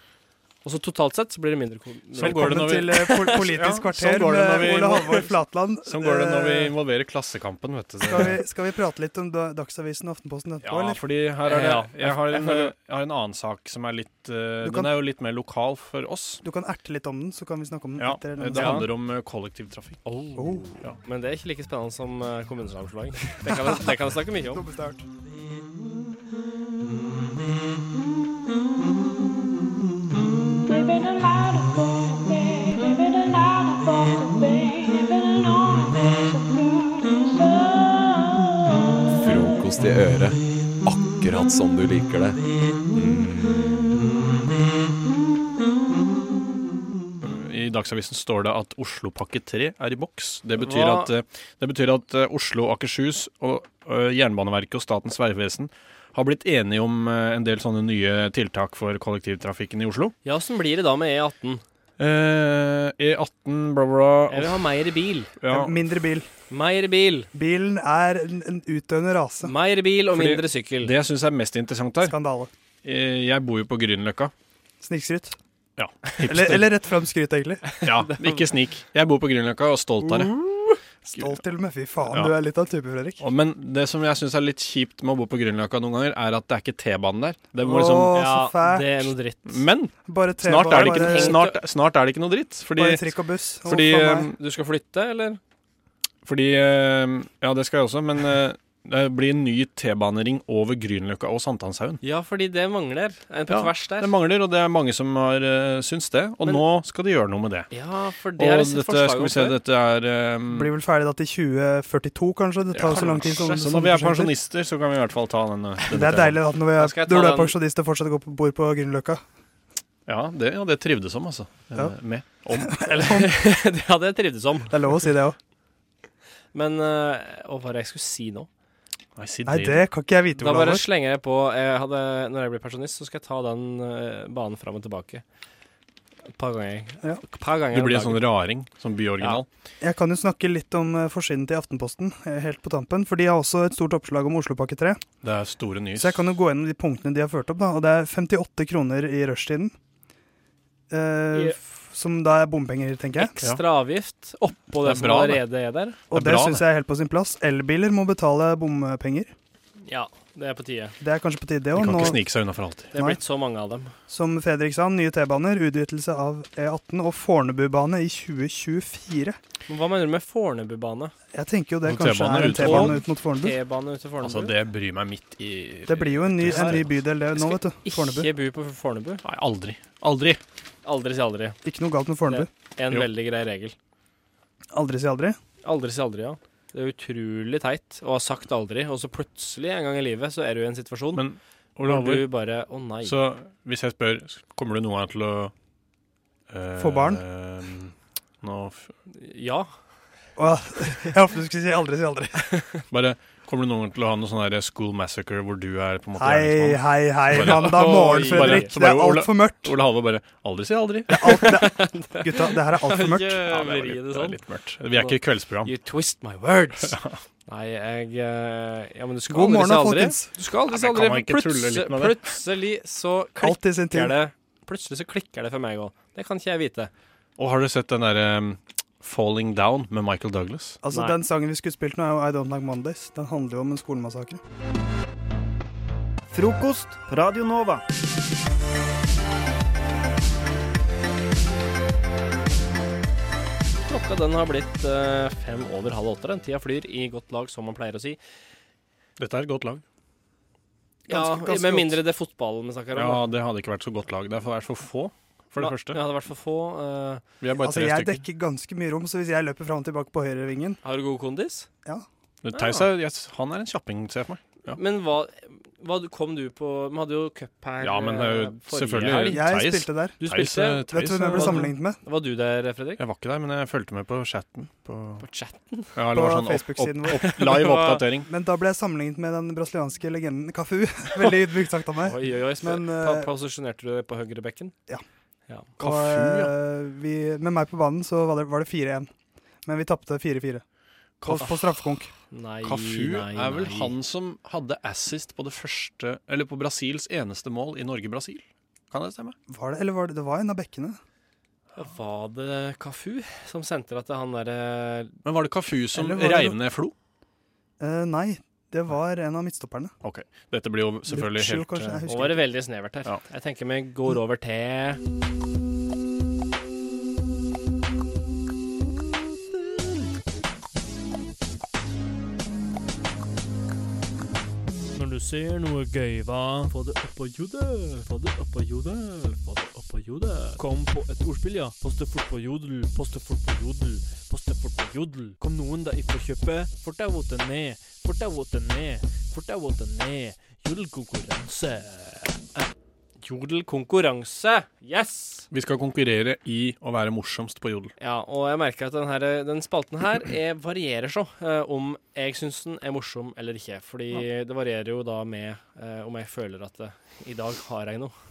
Speaker 2: Og så totalt sett så blir det mindre kom-
Speaker 4: Sånn går det
Speaker 3: Velkommen
Speaker 4: når vi-
Speaker 3: til eh, pol Politisk
Speaker 4: Ja,
Speaker 3: kvarter
Speaker 4: sånn går det når
Speaker 3: med
Speaker 4: vi
Speaker 3: Ole
Speaker 4: må-
Speaker 3: Halvor Flatland.
Speaker 4: Sånn går det når vi
Speaker 3: Eh,
Speaker 4: involverer Klassekampen, vet du.
Speaker 3: skal vi, skal vi prate litt om da- Dagsavisen og Aftenposten etterpå,
Speaker 4: Ja,
Speaker 3: eller?
Speaker 4: fordi her er det
Speaker 2: Ja,
Speaker 4: jeg, har
Speaker 2: jeg
Speaker 4: en, eh,
Speaker 2: føler-
Speaker 4: jeg har en annen sak som er litt
Speaker 3: Du
Speaker 4: eh,
Speaker 3: kan-
Speaker 4: Den er jo litt mer lokal for oss.
Speaker 3: Du kan erte litt om den, så kan vi snakke om den
Speaker 4: Ja,
Speaker 3: etter.
Speaker 4: Det
Speaker 3: denne
Speaker 2: da-
Speaker 3: saken.
Speaker 4: handler om eh, kollektivtrafikk.
Speaker 3: Oh,
Speaker 2: Men det er ikke like spennende som eh, kommunesammenslåing. Det kan jeg- det kan jeg snakke mye om.
Speaker 3: Oh, dobbeltstart.
Speaker 7: Living a life of pain, living a life of pain, living an honest and good soul.
Speaker 1: Frokost i øret, akkurat som du liker det.
Speaker 4: I Dagsavisen står det at Oslopakke 3 er i boks. Det betyr
Speaker 2: Hva-
Speaker 4: at, eh, det betyr at eh, Oslo, Akershus, og eh, Jernbaneverket og Statens vegvesen har blitt enige om eh, en del sånne nye tiltak for kollektivtrafikken i Oslo.
Speaker 2: Ja, åssen blir det da med E18?
Speaker 4: Eh, E18, bla, bla,
Speaker 2: Jeg vil ha mer bil.
Speaker 4: Ja,
Speaker 3: Mindre bil.
Speaker 2: Mer bil.
Speaker 3: Bilen er en, en utdøende rase.
Speaker 2: Mer bil og
Speaker 4: Fordi
Speaker 2: mindre sykkel.
Speaker 4: det jeg syns er mest interessant her
Speaker 3: Skandale.
Speaker 4: eh, Jeg bor jo på Grünerløkka.
Speaker 3: Snikskryt.
Speaker 4: Ja,
Speaker 3: Eller, eller rett fram skryt, egentlig.
Speaker 4: Ja, ikke snik. Jeg bor på Grünerløkka og er stolt av det.
Speaker 3: Mm. Stolt til og med. Fy faen,
Speaker 4: Ja.
Speaker 3: du er litt av en type, Fredrik.
Speaker 4: Og- Men det som jeg syns er litt kjipt med å bo på Grünerløkka noen ganger, er at det er ikke T-bane der. Det må liksom
Speaker 3: Åh, så
Speaker 2: ja,
Speaker 3: fælt.
Speaker 2: det er noe dritt.
Speaker 4: Men
Speaker 3: Bare tre,
Speaker 4: snart er, det
Speaker 3: bare,
Speaker 4: ikke, snart, snart er det ikke noe dritt. Fordi,
Speaker 3: bare trikk og buss. Å,
Speaker 4: fordi,
Speaker 3: faen meg.
Speaker 4: eh,
Speaker 2: Du skal flytte, eller?
Speaker 4: fordi eh, Ja, det skal jeg også, men eh, det blir en ny T-banering over Grünerløkka og Sankthanshaugen.
Speaker 2: Ja, fordi det mangler. En på
Speaker 4: Ja,
Speaker 2: tvers der.
Speaker 4: Det mangler, og det er mange som har uh, syns det. Og
Speaker 2: Men-
Speaker 4: nå skal de gjøre noe med det.
Speaker 2: Ja, for det har
Speaker 4: Og
Speaker 2: jeg sett
Speaker 4: dette,
Speaker 2: forslag
Speaker 4: skal
Speaker 2: om
Speaker 4: vi se,
Speaker 2: før.
Speaker 4: dette er eh,
Speaker 3: Blir vel ferdig da til 2042, kanskje. Det tar
Speaker 4: ja,
Speaker 3: jo så lang tid. Som,
Speaker 4: kanskje. Så
Speaker 3: som
Speaker 4: når vi er
Speaker 3: prosjekter.
Speaker 4: pensjonister, så kan vi i hvert fall ta eh, denne.
Speaker 3: Men Det er deilig at når, vi
Speaker 2: Da
Speaker 3: er,
Speaker 2: skal jeg ta
Speaker 3: når du er
Speaker 2: den-
Speaker 3: pensjonist og fortsatt går på bord på Grünerløkka.
Speaker 4: Ja, det, ja, det trivdes om, altså. Eh,
Speaker 3: Ja.
Speaker 4: Med. Om.
Speaker 2: det hadde jeg trivdes om.
Speaker 3: Det er lov å si det òg.
Speaker 2: Men eh, Å, hva var det jeg skulle si nå?
Speaker 4: Nei, si
Speaker 3: Nei,
Speaker 4: det.
Speaker 3: det kan ikke jeg vite.
Speaker 2: Da
Speaker 3: hvordan
Speaker 2: bare
Speaker 3: det var.
Speaker 2: slenger jeg på jeg hadde, Når jeg blir pensjonist, så skal jeg ta den eh, banen fram og tilbake. Et par ganger.
Speaker 3: Ja.
Speaker 2: Et par ganger
Speaker 4: Du
Speaker 2: om
Speaker 4: blir en
Speaker 2: dagen.
Speaker 4: sånn raring, sånn byoriginal.
Speaker 3: Jeg kan jo snakke litt om eh, forsiden til Aftenposten eh, helt på tampen. For de har også et stort oppslag om Oslopakke 3.
Speaker 4: Det er store nyheter.
Speaker 3: Så jeg kan jo gå gjennom de punktene de har ført opp. da, Og det er 58 kroner i rushtiden. Eh,
Speaker 2: Ja.
Speaker 3: f- Som da er bompenger, tenker jeg.
Speaker 2: Ekstra avgift oppå det,
Speaker 4: Det er
Speaker 2: som
Speaker 4: bra, det.
Speaker 2: allerede er der.
Speaker 3: Og
Speaker 4: Det er
Speaker 3: det
Speaker 4: bra,
Speaker 3: syns jeg er helt på sin plass. Elbiler må betale bompenger.
Speaker 2: Ja, det er på tide.
Speaker 3: Det er kanskje på tide, det
Speaker 4: De
Speaker 3: òg.
Speaker 4: kan
Speaker 3: Nå,
Speaker 4: ikke snike seg unna for alltid.
Speaker 2: Det er
Speaker 3: Nei.
Speaker 2: blitt så mange av dem.
Speaker 3: som Fredrik sa, nye T-baner, utvidelse av E18 og Fornebubane i 2024.
Speaker 2: Men hva mener du med Fornebubane?
Speaker 3: Jeg tenker jo det
Speaker 4: Og
Speaker 3: kanskje
Speaker 4: T-bane
Speaker 3: er en
Speaker 4: ut-
Speaker 3: T-bane
Speaker 2: og-
Speaker 3: ut mot Fornebu.
Speaker 2: T-bane ut til Fornebu?
Speaker 4: Altså, det bryr meg midt i
Speaker 3: Det blir jo en ny, en ny bydel det, nå, vet du.
Speaker 2: Ikke
Speaker 3: Fornebu.
Speaker 2: bo på Fornebu.
Speaker 4: Nei, aldri. Aldri.
Speaker 2: Aldri si aldri.
Speaker 3: Ikke noe galt med Fornebu.
Speaker 2: En
Speaker 4: Jo.
Speaker 2: veldig grei regel.
Speaker 3: Aldri si aldri.
Speaker 2: Aldri si aldri, ja. Det er utrolig teit å ha sagt aldri, og så plutselig en gang i livet så er du i en situasjon
Speaker 4: Men Ole
Speaker 2: hvor
Speaker 4: Halvor,
Speaker 2: du bare Å nei.
Speaker 4: så hvis jeg spør Kommer du noen gang til å eh,
Speaker 3: Få barn?
Speaker 4: eh, nå f
Speaker 2: Ja.
Speaker 3: Åh, jeg håpet du skulle si aldri si aldri.
Speaker 4: Bare Kommer du noen gang til å ha noe sånn der school massacre hvor du er på en måte
Speaker 3: Hei,
Speaker 4: gjerningsmann?
Speaker 3: hei, hei.
Speaker 4: Bare-
Speaker 3: Mandag morgen,
Speaker 2: Oi,
Speaker 3: Fredrik.
Speaker 4: bare-
Speaker 3: Det er
Speaker 4: bare Ola-
Speaker 3: altfor mørkt.
Speaker 4: Ole Halvor bare Aldri si aldri.
Speaker 3: Det er alt, det er, gutta, det her er altfor mørkt.
Speaker 4: Ja,
Speaker 2: Gjør
Speaker 4: det, var
Speaker 2: vi
Speaker 4: litt,
Speaker 2: det
Speaker 4: det er
Speaker 2: sånn?
Speaker 4: litt mørkt. Vi er ikke et kveldsprogram.
Speaker 2: You twist my words. Nei, jeg eh, Ja, men du skal
Speaker 3: God
Speaker 2: aldri
Speaker 3: morgen,
Speaker 2: si
Speaker 3: da,
Speaker 2: aldri.
Speaker 3: folkens.
Speaker 2: Du skal aldri
Speaker 4: Nei,
Speaker 2: si
Speaker 4: men kan
Speaker 2: aldri.
Speaker 4: man ikke tulle litt med
Speaker 2: Plutselig,
Speaker 4: det?
Speaker 2: plutselig så
Speaker 3: Alt i sin
Speaker 2: klikker
Speaker 3: tid.
Speaker 2: det Plutselig så klikker det for meg òg. Det kan ikke jeg vite.
Speaker 4: Og har du sett den derre um, Falling Down med Michael Douglas?
Speaker 3: Altså,
Speaker 2: Nei.
Speaker 3: Den sangen vi skulle spilt nå, er jo I Don't Like Mondays. Den handler jo om en skolemassakre.
Speaker 5: Frokost på Radio Nova.
Speaker 2: Klokka den har blitt eh, fem over halv åtte. Den tida flyr i godt lag, som man pleier å si.
Speaker 4: Dette er et godt lag.
Speaker 2: Ja,
Speaker 3: Ganske- ganske
Speaker 2: Med
Speaker 3: godt.
Speaker 2: mindre det er fotballen vi snakker om.
Speaker 4: Ja, det hadde ikke vært så godt lag. Det er for- er for få. for det
Speaker 2: Ja,
Speaker 4: første.
Speaker 2: Ja, det har vært for få. eh,
Speaker 4: Vi er bare
Speaker 3: Altså,
Speaker 4: tre
Speaker 3: jeg
Speaker 4: stykker.
Speaker 3: dekker ganske mye rom, så hvis jeg løper fram og tilbake på høyrevingen
Speaker 2: har du god kondis?
Speaker 4: Men Theis er, yes, han er en kjapping, ser jeg for meg. Ja.
Speaker 2: Men hva, hva du- kom du på Vi hadde jo cup her
Speaker 4: Ja, men det er jo
Speaker 2: eh, forrige
Speaker 4: selvfølgelig-
Speaker 2: helg.
Speaker 3: Jeg
Speaker 4: Theis.
Speaker 3: spilte der.
Speaker 2: Du
Speaker 4: Theis,
Speaker 2: spilte.
Speaker 4: eh,
Speaker 3: Vet
Speaker 4: Theis
Speaker 3: du hvem jeg
Speaker 4: er-
Speaker 3: ble sammenlignet med?
Speaker 2: Var du der, Fredrik?
Speaker 4: Jeg var ikke der, men jeg fulgte med på chatten. På,
Speaker 2: På chat.
Speaker 4: ja, det
Speaker 3: På
Speaker 4: var sånn opp, opp,
Speaker 3: Facebook-siden vår.
Speaker 4: live oppdatering.
Speaker 3: Men da ble jeg sammenlignet med den brasilianske legenden Kafu. Veldig ydmykt sagt av meg.
Speaker 2: Oi, oi, oi. sp-
Speaker 3: Men,
Speaker 2: pa-
Speaker 3: eh,
Speaker 2: Posisjonerte du deg på høyrebekken?
Speaker 3: Og, eh, vi, med meg på banen så var det, var det 4-1. Men vi tapte 4-4 på,
Speaker 4: Kaf-
Speaker 3: på straffekonk.
Speaker 2: Nei,
Speaker 4: Kafu
Speaker 2: nei,
Speaker 4: er vel
Speaker 2: nei.
Speaker 4: han som hadde assist på det første Eller på Brasils eneste mål i Norge-Brasil. Kan det stemme?
Speaker 3: Var det, eller var det, det var en av bekkene.
Speaker 2: Ja, Var det Kafu som sendte deg til han eh, derre
Speaker 4: Men var det Kafu som
Speaker 3: Eller var det-
Speaker 4: reiv ned Flo?
Speaker 3: Eh, nei, det var en av midtstopperne.
Speaker 4: Dette blir jo selvfølgelig
Speaker 3: Lucio,
Speaker 4: helt
Speaker 3: kanskje?
Speaker 4: eh,
Speaker 3: Jeg
Speaker 2: Nå
Speaker 3: husker
Speaker 2: var det veldig snevert her.
Speaker 4: Ja.
Speaker 2: Jeg tenker vi går over til
Speaker 5: Når du ser noe gøy, hva? Få det opp på hodet, få det opp på hodet, få det opp på hodet. Kom på et ordspill, ja. Poste fort på jodel, poste fort på jodel, poste fort på jodel. Kom noen da ifra kjøpet, fort deg våte ned, fort deg våte ned, fort deg våte ned. Jodelkonkurranse.
Speaker 2: Jodel konkurranse. Yes!
Speaker 4: Vi skal konkurrere i å være morsomst på jodel.
Speaker 2: Ja, og jeg merker at den, her, den spalten her er, varierer så eh, om jeg syns den er morsom eller ikke. Fordi det varierer jo da med eh, om jeg føler at eh, i dag har jeg noe.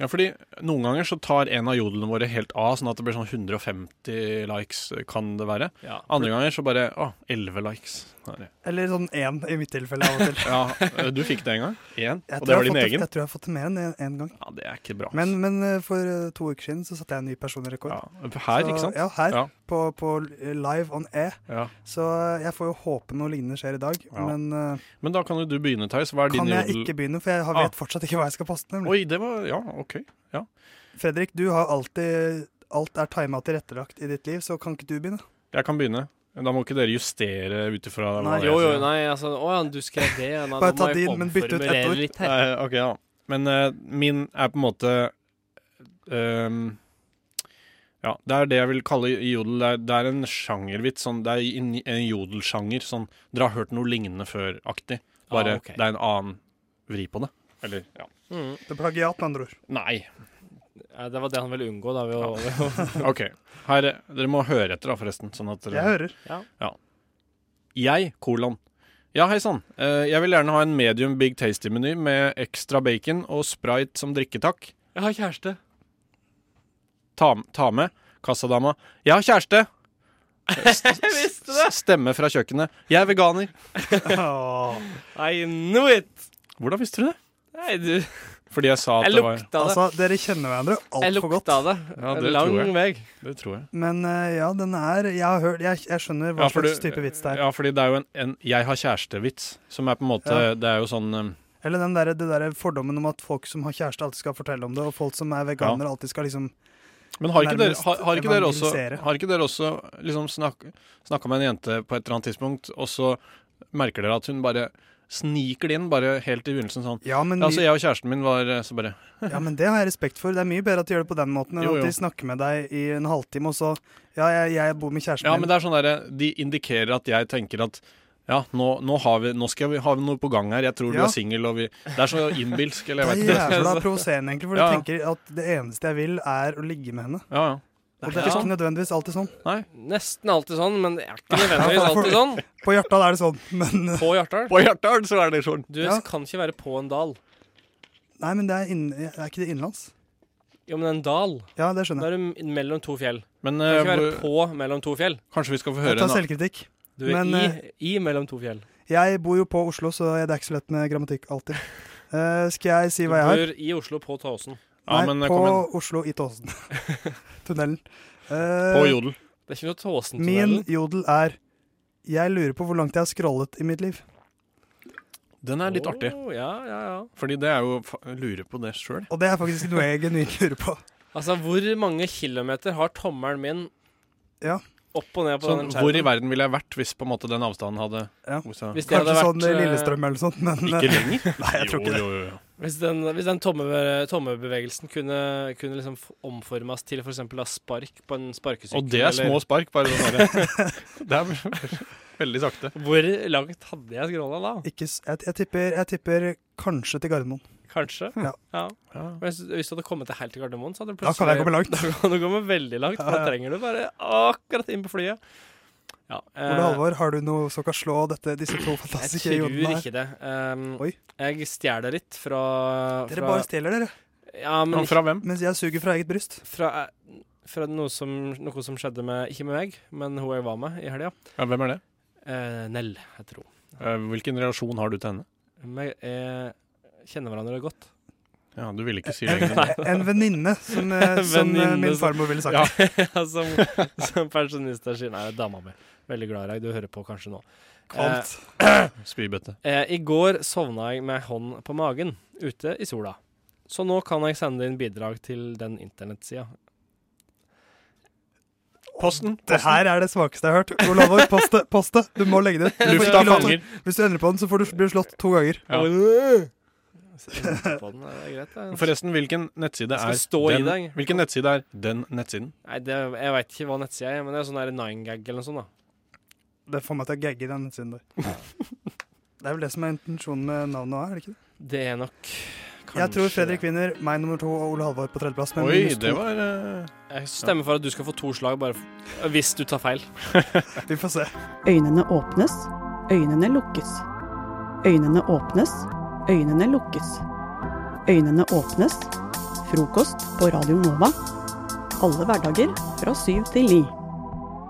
Speaker 4: Ja, fordi Noen ganger så tar en av jodelene våre helt av, sånn at det blir sånn 150 likes, eh, kan det være.
Speaker 2: Ja.
Speaker 4: Andre ganger så bare å, 11 likes. Nei.
Speaker 3: Eller sånn én i mitt tilfelle av og til.
Speaker 4: Ja, øh, du fikk det en gang.
Speaker 3: Jeg
Speaker 4: Én. Og
Speaker 3: tror
Speaker 4: det
Speaker 3: jeg,
Speaker 4: var
Speaker 3: har
Speaker 4: din
Speaker 3: fått det,
Speaker 4: egen.
Speaker 3: jeg tror jeg har fått det mer enn én gang.
Speaker 4: Ja, Det er ikke bra. altså.
Speaker 3: Men, men eh, for eh, to uker siden så satte jeg en ny personlig rekord.
Speaker 4: ja. Her, ikke sant?
Speaker 3: Ja, her.
Speaker 4: Ja.
Speaker 3: På, på live on air.
Speaker 4: Ja.
Speaker 3: Så eh, jeg får jo håpe noe lignende skjer i dag.
Speaker 4: Ja.
Speaker 3: Men eh,
Speaker 4: Men da kan jo du begynne, Theis. Hva er
Speaker 3: kan
Speaker 4: din
Speaker 3: jeg
Speaker 4: jodel?
Speaker 3: ikke begynne, for jeg har-
Speaker 4: Ah.
Speaker 3: vet fortsatt ikke hva jeg skal poste. Nemlig.
Speaker 4: Oi, det var Ja, OK.
Speaker 3: Fredrik, du har alltid Alt er tima tilrettelagt i ditt liv, så kan ikke du begynne?
Speaker 4: Jeg kan begynne. Da må ikke dere justere ut ifra hva
Speaker 3: Nei.
Speaker 4: jeg
Speaker 2: Jo, jo,
Speaker 4: sier.
Speaker 2: nei, altså Å ja, du skrev det. ja, Nei,
Speaker 3: Bare
Speaker 2: nå må
Speaker 3: ta
Speaker 2: jeg
Speaker 3: din, men bytt ut ett
Speaker 2: omformulere
Speaker 3: ord.
Speaker 2: litt her.
Speaker 4: Nei, ok, ja. Men eh, min er på en måte ehm, Ja, det er det jeg vil kalle i jodel. Det er, det er en sjangervits. Sånn, det er en, en jodelsjanger. Sånn dere har hørt noe lignende før-aktig. Bare
Speaker 2: Ah, ok.
Speaker 4: det er en annen vri på det. Eller ja.
Speaker 2: Mm.
Speaker 3: Det er plagiat, med andre ord.
Speaker 4: Nei.
Speaker 2: Ja, det var det han ville unngå, da. Ved å, ved å,
Speaker 4: OK. Her, eh, dere må høre etter, da, forresten. Sånn at
Speaker 3: Jeg
Speaker 4: dere
Speaker 3: hører.
Speaker 4: Jeg, kolon. Ja, hei sann. Eh, jeg vil gjerne ha en medium big tasty-meny med ekstra bacon og sprite som drikke, takk.
Speaker 2: jeg har kjæreste.
Speaker 4: ta, ta med kassadama. Jeg har kjæreste!
Speaker 2: Jeg visste det!
Speaker 4: S- Stemme fra kjøkkenet. Jeg er veganer.
Speaker 3: Åh.
Speaker 2: I knew it!
Speaker 4: Hvordan visste du det?
Speaker 2: Nei, du
Speaker 4: Fordi jeg sa at
Speaker 2: Jeg
Speaker 4: det var
Speaker 2: lukta det.
Speaker 3: Altså, dere kjenner hverandre
Speaker 2: Jeg
Speaker 3: altfor godt.
Speaker 2: lukta det.
Speaker 4: Ja, det
Speaker 2: Lang
Speaker 4: tror jeg.
Speaker 2: vei.
Speaker 4: Det tror jeg.
Speaker 3: Men eh, ja, den er Jeg, har hørt, jeg, jeg skjønner hva
Speaker 4: Ja, for
Speaker 3: slags
Speaker 4: du-
Speaker 3: type vits det er.
Speaker 4: Ja, fordi det er jo en, en 'jeg har kjæreste'-vits, som er på en måte
Speaker 3: Ja.
Speaker 4: Det er jo sånn um,
Speaker 3: Eller den der, det derre fordommen om at folk som har kjæreste, alltid skal fortelle om det, og folk som er veganere, alltid skal liksom
Speaker 4: Men har ikke, dere,
Speaker 3: Nærmest
Speaker 4: har, har, ikke dere også,
Speaker 3: evangelisere.
Speaker 4: har ikke dere også liksom snak, snakka med en jente på et eller annet tidspunkt, og så merker dere at hun bare sniker det inn, bare helt i begynnelsen sånn
Speaker 3: ja men,
Speaker 4: ja, altså,
Speaker 3: vi,
Speaker 4: jeg og kjæresten min var eh, så bare
Speaker 3: ja, men det har jeg respekt for. Det er mye bedre at de gjør det på den måten enn
Speaker 4: Jo, jo.
Speaker 3: at de snakker med deg i en halvtime, og så Ja, jeg, jeg bor med kjæresten
Speaker 4: Ja, men
Speaker 3: min.
Speaker 4: det er sånn der, De indikerer at jeg tenker at ja, nå, nå, har vi, nå skal vi ha noe på gang her. Jeg tror du
Speaker 3: Ja.
Speaker 4: er singel, og vi Det er så innbilsk, eller jeg vet
Speaker 3: Det
Speaker 4: ikke.
Speaker 3: er jævla provoserende, egentlig, for
Speaker 4: Ja.
Speaker 3: du tenker at det eneste jeg vil, er å ligge med henne.
Speaker 4: Ja, ja.
Speaker 3: Og
Speaker 2: Det
Speaker 3: det
Speaker 2: er
Speaker 3: er
Speaker 2: ikke
Speaker 3: ikke nødvendigvis alltid sånn.
Speaker 2: Nesten alltid sånn, men det er ikke nødvendigvis
Speaker 3: Ja, for-
Speaker 2: alltid sånn.
Speaker 3: På Hjartdal er det sånn, men eh,
Speaker 2: På Hjartdal.
Speaker 4: På Hjartdal så er det sånn.
Speaker 2: Du
Speaker 3: Ja.
Speaker 2: kan ikke være på en dal.
Speaker 3: Nei, men det er, inn, er ikke det innenlands?
Speaker 2: Jo, men en dal,
Speaker 3: Ja, det
Speaker 2: da
Speaker 3: skjønner jeg.
Speaker 2: er du m- mellom to fjell.
Speaker 4: Men
Speaker 2: Du kan
Speaker 4: eh,
Speaker 2: ikke være
Speaker 4: hvor-
Speaker 2: på mellom to fjell.
Speaker 4: kanskje vi skal få
Speaker 3: Jeg
Speaker 4: høre
Speaker 3: tar
Speaker 4: en
Speaker 3: selvkritikk.
Speaker 2: Du er
Speaker 3: Men, eh,
Speaker 2: i, i mellom to fjell.
Speaker 3: Jeg bor jo på Oslo, så det er ikke så lett med grammatikk alltid. Eh, skal jeg si
Speaker 2: Du
Speaker 3: hva jeg har?
Speaker 2: bor i Oslo på Tåsen.
Speaker 4: Ja,
Speaker 3: Nei,
Speaker 4: men eh,
Speaker 3: på
Speaker 4: kom igjen.
Speaker 3: Oslo i Tåsen. Tunnelen.
Speaker 4: På
Speaker 3: Eh,
Speaker 4: Jodel.
Speaker 2: Det er ikke noe
Speaker 3: min
Speaker 2: Tåsen-tunnel.
Speaker 3: jodel er Jeg lurer på hvor langt jeg har scrollet i mitt liv.
Speaker 4: Den er litt artig.
Speaker 2: Oh, ja, ja, ja.
Speaker 4: Fordi det er jo fa- jeg Lurer på det sjøl.
Speaker 3: Og det er faktisk noe jeg genuint lurer på.
Speaker 2: Altså, hvor mange kilometer har tommelen min
Speaker 3: Ja.
Speaker 2: opp og ned på
Speaker 4: Sånn,
Speaker 2: den
Speaker 4: hvor i
Speaker 2: skjermen?
Speaker 4: verden ville jeg vært hvis på en måte den avstanden hadde
Speaker 3: Ja.
Speaker 4: Hvis jeg-
Speaker 2: Hvis det
Speaker 3: Kanskje
Speaker 2: hadde vært
Speaker 3: sånn eh,
Speaker 2: eh,
Speaker 3: Lillestrøm eller noe sånt, men
Speaker 4: Ikke lenger?
Speaker 3: Nei, jeg tror ikke det.
Speaker 4: Jo, jo, jo.
Speaker 2: Hvis den, hvis den tomme, tommebevegelsen kunne, kunne liksom f- omformes til f.eks. spark på en sparkesykkel
Speaker 4: Og det er
Speaker 2: eller-
Speaker 4: små spark, bare sånn der. Det er veldig sakte.
Speaker 2: Hvor langt hadde jeg skrolla da?
Speaker 3: Ikke, s- jeg, jeg, tipper, jeg tipper kanskje til Gardermoen.
Speaker 2: Kanskje?
Speaker 3: Ja.
Speaker 2: Men hvis, hvis du hadde kommet til helt til Gardermoen, så hadde du
Speaker 3: Da kan jeg komme langt.
Speaker 2: Da kan du komme veldig langt, for
Speaker 3: Ja,
Speaker 2: da
Speaker 3: ja.
Speaker 2: trenger du bare akkurat inn på flyet. Ja, eh,
Speaker 3: Ole Halvor, har du noe som kan slå dette, disse to
Speaker 2: jeg
Speaker 3: fantastiske
Speaker 2: tror
Speaker 3: jodene her?
Speaker 2: ikke det. Um,
Speaker 3: Oi.
Speaker 2: Jeg stjeler det litt fra,
Speaker 3: Dere
Speaker 2: fra
Speaker 3: bare stjeler, dere.
Speaker 2: Ja, men
Speaker 4: Men fra hvem?
Speaker 3: Mens jeg suger fra eget bryst.
Speaker 2: fra, fra noe, som, noe som skjedde med Ikke med meg, men hun jeg var med i helga.
Speaker 4: Ja, hvem er det?
Speaker 2: Eh, Nell, jeg tror.
Speaker 4: Eh, Hvilken relasjon har du til henne?
Speaker 2: Vi eh, kjenner hverandre godt.
Speaker 4: Ja, Du ville ikke si
Speaker 3: En,
Speaker 4: lenger.
Speaker 3: en venninne, som, eh, som eh,
Speaker 2: Venninne,
Speaker 3: min
Speaker 2: som-
Speaker 3: farmor ville sagt.
Speaker 4: Ja.
Speaker 2: som som pensjonister sier. Nei, dama mi. Veldig glad i deg. Du hører på kanskje nå.
Speaker 3: Kvalmt.
Speaker 4: Spybøtte.
Speaker 2: Eh, I går sovna jeg med hånd på magen ute i sola. Så nå kan jeg sende inn bidrag til den internettsida.
Speaker 4: Posten.
Speaker 3: Det her er det svakeste jeg har hørt. Ole Halvor, post det. Post det. Du må legge det ut. Du får
Speaker 4: Lufta
Speaker 3: ikke lov til-
Speaker 4: fanger.
Speaker 3: Hvis du endrer på den, så får du bli slått to ganger.
Speaker 4: Ja.
Speaker 2: øh! På den, er det greit, det?
Speaker 4: Forresten, hvilken nettside
Speaker 2: Skal
Speaker 4: er
Speaker 2: stå i
Speaker 4: den?
Speaker 2: deg.
Speaker 4: Hvilken nettside er den nettsiden?
Speaker 2: Nei, det, jeg veit ikke hva nettsida er, men det er sånn der nine gag eller noe sånt. da.
Speaker 3: Det får meg til å gagge den siden der. Det er vel det som er intensjonen med navnet òg, er det ikke det?
Speaker 2: Det er nok kanskje
Speaker 3: Jeg tror Fredrik
Speaker 2: det.
Speaker 3: vinner, meg nummer to og Ole Halvor på tredjeplass. Men
Speaker 4: Oi,
Speaker 3: minus
Speaker 4: det
Speaker 3: to.
Speaker 4: var eh,
Speaker 2: Jeg stemmer for at du skal få to slag, bare f hvis du tar feil.
Speaker 3: Vi får se.
Speaker 8: Øynene åpnes, øynene lukkes. Øynene åpnes, øynene lukkes. Øynene åpnes. Frokost på Radio Nova. Alle hverdager fra syv til ni.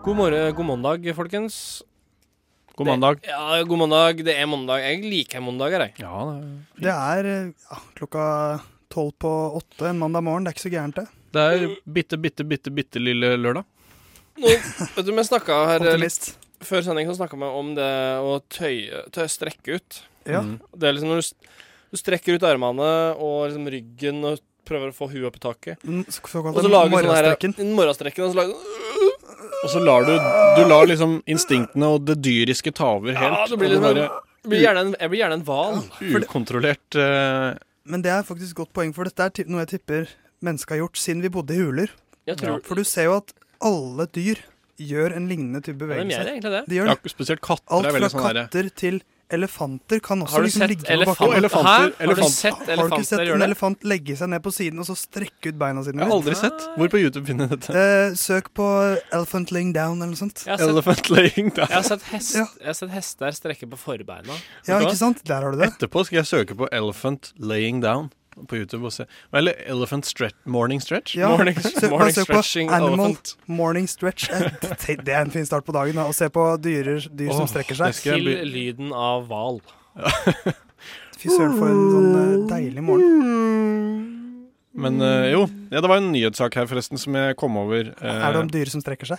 Speaker 2: God, morgen, god mandag, folkens.
Speaker 4: God mandag.
Speaker 2: Det, ja, god mandag. Det er mandag. Jeg liker mandager, jeg.
Speaker 4: Ja, det
Speaker 3: Det er eh, ja, klokka tolv på åtte en mandag morgen. Det er ikke så gærent, det.
Speaker 4: er- det er bitte, bitte, bitte, bitte lille lørdag.
Speaker 2: Nå, vet du, vi snakka her eh, litt
Speaker 3: Optimist.
Speaker 2: før sending, så snakka vi om det å tøye, tøye strekke ut.
Speaker 3: Ja.
Speaker 4: Mm.
Speaker 2: Det er liksom når du, s- du strekker ut armene og liksom ryggen og prøver å få huet opp i taket.
Speaker 3: Den så-
Speaker 2: Og så
Speaker 3: Såkalte
Speaker 2: lager du sånn her
Speaker 3: morgenstrekken.
Speaker 2: den morgenstrekken, og så lager du
Speaker 4: Og så lar du Du lar liksom instinktene og det dyriske ta over helt.
Speaker 2: Ja, det blir
Speaker 4: og
Speaker 2: liksom
Speaker 4: bare
Speaker 2: jeg blir gjerne en- Jeg blir gjerne en hval.
Speaker 4: ukontrollert eh,
Speaker 3: Men det er faktisk et godt poeng, for dette er ti- noe jeg tipper mennesket har gjort siden vi bodde i huler.
Speaker 2: Jeg tror
Speaker 3: For du ser jo at alle dyr gjør en lignende type
Speaker 2: ja, de gjør
Speaker 3: bevegelse.
Speaker 2: egentlig det.
Speaker 3: De gjør
Speaker 4: Ja,
Speaker 3: det.
Speaker 4: spesielt katter
Speaker 3: Alt
Speaker 4: er veldig
Speaker 3: fra
Speaker 4: sånn derre
Speaker 3: katter til elefanter kan også
Speaker 2: Har du
Speaker 3: liksom
Speaker 2: sett
Speaker 3: ligge på
Speaker 2: elefanter?
Speaker 3: bakken.
Speaker 4: elefanter-
Speaker 2: Hæ? Har du
Speaker 4: elefanter-
Speaker 2: sett
Speaker 3: Har du ikke sett
Speaker 2: elefanter
Speaker 3: en
Speaker 2: gjøre det?
Speaker 3: elefant legge seg ned på siden og så strekke ut beina sine?
Speaker 4: Jeg har aldri sett. Hvor på YouTube finner jeg dette?
Speaker 3: Eh, søk på 'elephant laying down' eller noe sånt.
Speaker 2: Jeg har sett,
Speaker 4: Elephant laying
Speaker 2: jeg
Speaker 4: down.
Speaker 2: har sett, hest,
Speaker 3: Ja.
Speaker 2: jeg har sett hester strekke på forbeina.
Speaker 3: Ja,
Speaker 4: du hva?
Speaker 3: ikke sant? Der har du det.
Speaker 4: Etterpå skal jeg søke på 'Elephant laying down' på YouTube. og se Eller 'Elephant stretch, morning stretch'.
Speaker 3: Ja.
Speaker 2: Morning,
Speaker 3: Søk- bare
Speaker 2: morning
Speaker 3: søk på
Speaker 2: stretching
Speaker 3: animal.
Speaker 2: elephant.
Speaker 3: Morning stretch. Eh, te- Det er en fin start på dagen. da, Å se på dyrer, dyr som
Speaker 4: Åh,
Speaker 3: strekker
Speaker 4: det
Speaker 3: seg.
Speaker 4: skal
Speaker 2: Til
Speaker 4: jeg begynne-
Speaker 2: lyden av hval.
Speaker 3: Fy søren, for en
Speaker 4: Mm.
Speaker 3: sånn eh, deilig morgen.
Speaker 4: Men eh, jo, ja, det var en nyhetssak her forresten som jeg kom over. eh,
Speaker 3: Er det om dyr som strekker seg?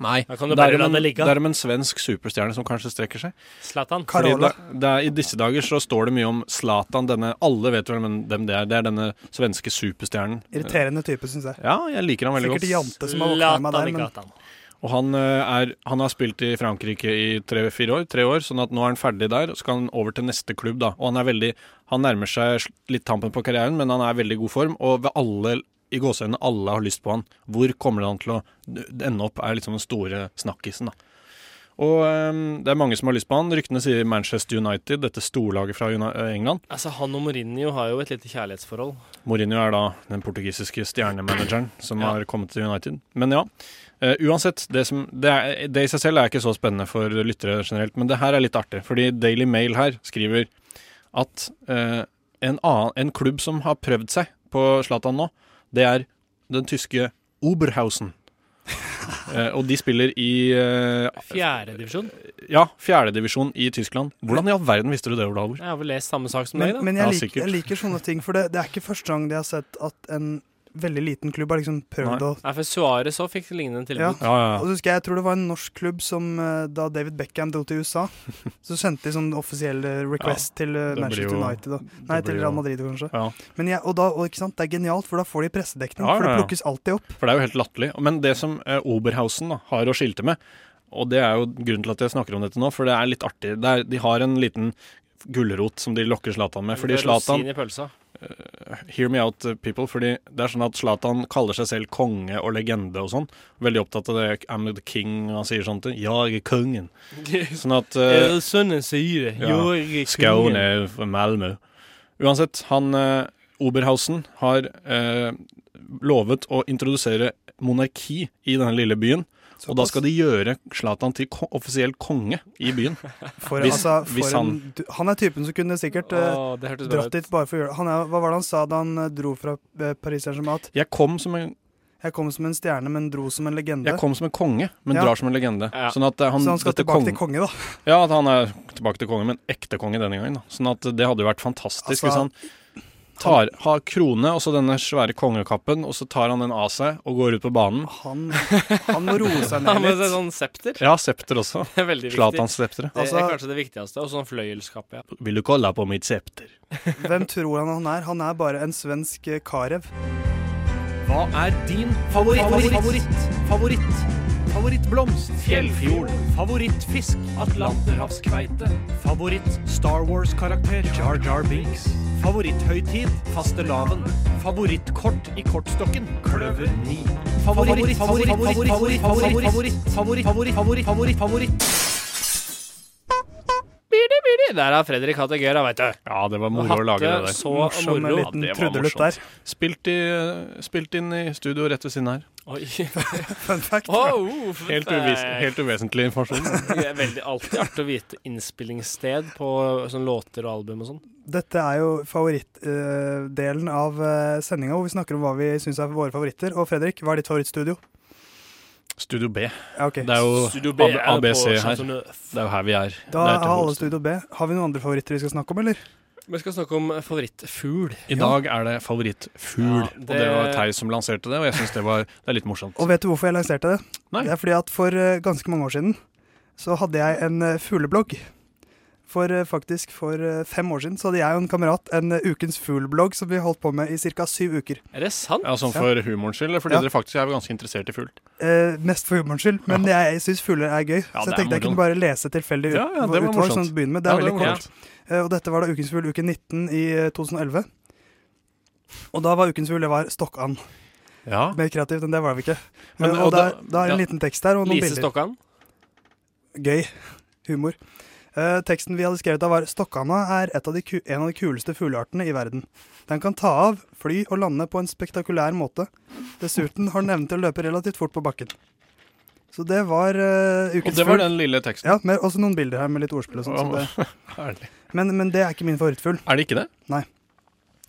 Speaker 4: Nei.
Speaker 2: Da kan du
Speaker 4: det
Speaker 2: bare
Speaker 4: er
Speaker 2: la
Speaker 4: om en,
Speaker 2: det ligge.
Speaker 4: det er om en svensk superstjerne som kanskje strekker seg.
Speaker 2: Zlatan.
Speaker 4: Fordi
Speaker 3: Carola.
Speaker 4: da- det er, I disse dager så står det mye om Zlatan, denne Alle vet jo hvem hvem det er. Det er denne svenske superstjernen.
Speaker 3: Irriterende type, syns jeg.
Speaker 4: Ja, jeg liker han veldig
Speaker 3: Sikkert
Speaker 4: godt.
Speaker 3: Jante som har våkna meg der,
Speaker 2: i
Speaker 3: men
Speaker 2: gatan.
Speaker 4: Og han, eh, er, han har spilt i Frankrike i tre-fire år, tre år, sånn at nå er han ferdig der. og Så skal han over til neste klubb, da. Og han er veldig Han nærmer seg sl- litt tampen på karrieren, men han er i veldig god form. Og ved alle i gåseøynene, alle har lyst på han. Hvor kommer han til å d- ende opp, er liksom den store snakkisen, da. Og eh, det er mange som har lyst på han. Ryktene sier Manchester United, dette storlaget fra Uni- eh, England.
Speaker 2: Altså, han og Mourinho har jo et lite kjærlighetsforhold.
Speaker 4: Mourinho er da den portugisiske stjernemanageren som
Speaker 2: Ja.
Speaker 4: har kommet til United. Men ja, eh, uansett. Det, som, det, er, det i seg selv er ikke så spennende for lyttere generelt, men det her er litt artig. Fordi Daily Mail her skriver at eh, en, annen, en klubb som har prøvd seg på Zlatan nå, det er den tyske Oberhausen. Eh, og de spiller i eh,
Speaker 2: Fjerdedivisjon.
Speaker 4: ja, fjerdedivisjon i Tyskland. Hvordan i all verden visste du det, Ole Halvor?
Speaker 2: Jeg har vel lest samme sak som deg,
Speaker 3: Men,
Speaker 2: da.
Speaker 3: men
Speaker 4: Ja,
Speaker 3: jeg, liker,
Speaker 4: sikkert.
Speaker 3: jeg liker sånne ting, for det, det er ikke første gang jeg har sett at en veldig liten klubb har liksom prøvd
Speaker 4: Nei.
Speaker 3: å
Speaker 2: Nei, for Suárez òg fikk lignende
Speaker 3: Ja.
Speaker 2: tilbud.
Speaker 4: Ja, ja,
Speaker 3: Og
Speaker 4: ja.
Speaker 3: så husker jeg, jeg tror det var en norsk klubb som eh, da David Beckham dro til USA, så sendte de sånn offisiell eh, request til eh,
Speaker 4: det
Speaker 3: Manchester
Speaker 4: blir jo-
Speaker 3: United. Da. Nei,
Speaker 4: det blir
Speaker 3: til
Speaker 4: jo-
Speaker 3: Real Madrid kanskje.
Speaker 4: Ja.
Speaker 3: Men jeg, og da, og, ikke sant, det er genialt, for da får de pressedekning.
Speaker 4: Ja,
Speaker 3: For
Speaker 4: ja,
Speaker 3: det
Speaker 4: ja.
Speaker 3: plukkes alltid opp.
Speaker 4: For det er jo helt latterlig. Men det som eh, Oberhausen da, har å skilte med, og det er jo grunnen til at jeg snakker om dette nå, for det er litt artig. Det er, de har en liten gulrot som de lokker Zlatan med. Fordi
Speaker 2: Det er
Speaker 4: Zlatan
Speaker 2: rosin i pølsa.
Speaker 4: hear me out, eh, people. Fordi det er sånn at Zlatan kaller seg selv konge og legende og sånn. Veldig opptatt av det. I'm the king. og Han sier sånn til Jeg er kongen. Sånn at eh,
Speaker 5: sånn en sier det?
Speaker 4: Ja. Skaun er fra Malmö. Uansett, han eh, Oberhausen har eh, lovet å introdusere monarki i denne lille byen. Og da skal de gjøre Zlatan til ko offisiell konge i byen.
Speaker 3: For,
Speaker 4: Hvis-
Speaker 3: altså, for
Speaker 4: hvis
Speaker 3: han, en, du- han er typen som kunne sikkert eh,
Speaker 5: det hørtes bra
Speaker 3: dratt
Speaker 5: ut.
Speaker 3: dit bare for å gjøre han er, Hva var det han sa da han eh, dro fra eh, Paris Saint-Germain? At
Speaker 4: Jeg kom som en,
Speaker 3: 'jeg kom som en stjerne, men dro som en legende'.
Speaker 4: jeg kom som en konge, men
Speaker 3: Ja.
Speaker 4: drar som en legende.
Speaker 5: Ja.
Speaker 4: Sånn at eh, han,
Speaker 3: så han skal
Speaker 4: dette
Speaker 3: tilbake
Speaker 4: kong-
Speaker 3: til konge, da.
Speaker 4: Ja, at han er tilbake til konge, men ekte konge denne gangen. Da. Sånn at det hadde jo vært fantastisk
Speaker 3: Altså,
Speaker 4: hvis han tar, har krone og så denne svære kongekappen, og så tar han den av seg og går ut på banen.
Speaker 3: Han, han må roe seg
Speaker 2: Ja,
Speaker 3: ned
Speaker 2: men det er
Speaker 3: litt.
Speaker 2: sånn septer.
Speaker 4: Ja, septer også.
Speaker 2: Det er veldig viktig. Det er
Speaker 4: Zlatan-septeret.
Speaker 3: Altså-
Speaker 2: kanskje det viktigste. Og sånn fløyelskappe. Ja.
Speaker 4: Vil du kolla på mitt septer?
Speaker 3: Hvem tror han han er? Han er bare en svensk eh, Karev.
Speaker 5: Hva er din favoritt? Favoritt? Favoritt? favoritt? Favorittblomst? Fjellfjord? Favorittfisk? Atlanterhavskveite? Favoritt Star Wars-karakter? Jar Jar Binks? Favoritthøytid? Fastelavn? Favorittkort i kortstokken? Kløver 9. Favoritt? Favoritt? Favoritt? Favoritt? Favoritt? Favoritt? Favoritt? Favoritt? Favoritt? Favoritt? Favoritt?
Speaker 2: Birdi, birdi. Der har Fredrik hatt det gøy, da, veit du.
Speaker 4: Ja, det var moro å lage det der.
Speaker 5: eh,
Speaker 2: Så
Speaker 3: Morsom
Speaker 2: moro.
Speaker 3: liten
Speaker 4: Ja, det var
Speaker 3: trudelutt
Speaker 4: morsomt.
Speaker 3: der.
Speaker 4: Spilt, i, spilt inn i studio rett ved siden her.
Speaker 2: Oi.
Speaker 3: Fun fact.
Speaker 2: Oh,
Speaker 4: Helt, uvis,
Speaker 5: eh,
Speaker 4: helt uvesentlig informasjon.
Speaker 2: Det er veldig alltid artig å vite innspillingssted på sånn låter og album og sånn.
Speaker 3: Dette er jo favorittdelen av uh, sendinga, hvor vi snakker om hva vi syns er våre favoritter. Og Fredrik, hva er ditt favorittstudio?
Speaker 4: Studio B.
Speaker 3: Ja, ok.
Speaker 4: Det er jo
Speaker 2: Studio B
Speaker 4: AB,
Speaker 2: er på
Speaker 4: ABC her.
Speaker 2: Chateau Neuf.
Speaker 4: Det er jo her vi er.
Speaker 3: Da
Speaker 4: Det er
Speaker 3: har
Speaker 4: til
Speaker 3: alle
Speaker 4: hovedstaden.
Speaker 3: Studio B. Har vi noen andre favoritter vi skal snakke om, eller?
Speaker 2: Vi skal snakke om favorittfugl.
Speaker 4: I dag er det favorittfugl.
Speaker 2: Ja,
Speaker 4: Og
Speaker 2: det-
Speaker 4: det var Theis som lanserte det, og jeg syns det var det er litt morsomt.
Speaker 3: Og vet du hvorfor jeg lanserte det?
Speaker 4: Nei.
Speaker 3: Det er fordi at for eh, ganske mange år siden så hadde jeg en eh, fugleblogg. For eh, faktisk for eh, fem år siden så hadde jeg og en kamerat en eh, ukens fugleblogg som vi holdt på med i ca. syv uker.
Speaker 2: Er det sant?
Speaker 4: Ja, Sånn for humorens skyld, eller fordi
Speaker 3: Ja.
Speaker 4: dere faktisk er ganske interessert i fugl.
Speaker 3: Eh, mest for humorens skyld, men jeg syns fugler er gøy. så
Speaker 4: det er
Speaker 3: jeg tenkte jeg
Speaker 4: moro.
Speaker 3: kunne bare lese tilfeldig ut-
Speaker 4: Ja, ja, det var
Speaker 3: utvalg.
Speaker 4: morsomt.
Speaker 3: Sånn å begynne med. Det er
Speaker 4: Ja, det
Speaker 3: veldig
Speaker 4: var
Speaker 3: kort. Eh, og dette var da Ukens fugl uke 19 i eh, 2011. Og da var Ukens fugl det var Stokkan.
Speaker 4: Ja.
Speaker 3: Mer kreativt enn det var vi ikke.
Speaker 4: Men-
Speaker 3: Eh, og
Speaker 4: og
Speaker 3: da,
Speaker 4: da-
Speaker 3: da er en
Speaker 4: ja.
Speaker 3: liten tekst her og noen
Speaker 2: Lise
Speaker 3: bilder.
Speaker 2: Stokkan.
Speaker 3: Gøy. Humor. Eh, teksten vi hadde skrevet da var Stokkana er et av de ku en av de kuleste fugleartene i verden. Den kan ta av, fly og lande på en spektakulær måte. Dessuten har den evnen til å løpe relativt fort på bakken. Så det var eh,
Speaker 4: Og
Speaker 3: ukens
Speaker 4: det var
Speaker 3: fugl.
Speaker 4: den lille teksten.
Speaker 3: Ja, med, også noen bilder her med litt ordspill og sånn. så det-
Speaker 4: Herlig.
Speaker 3: Men, men det er ikke min favorittfugl.
Speaker 4: Er det ikke det?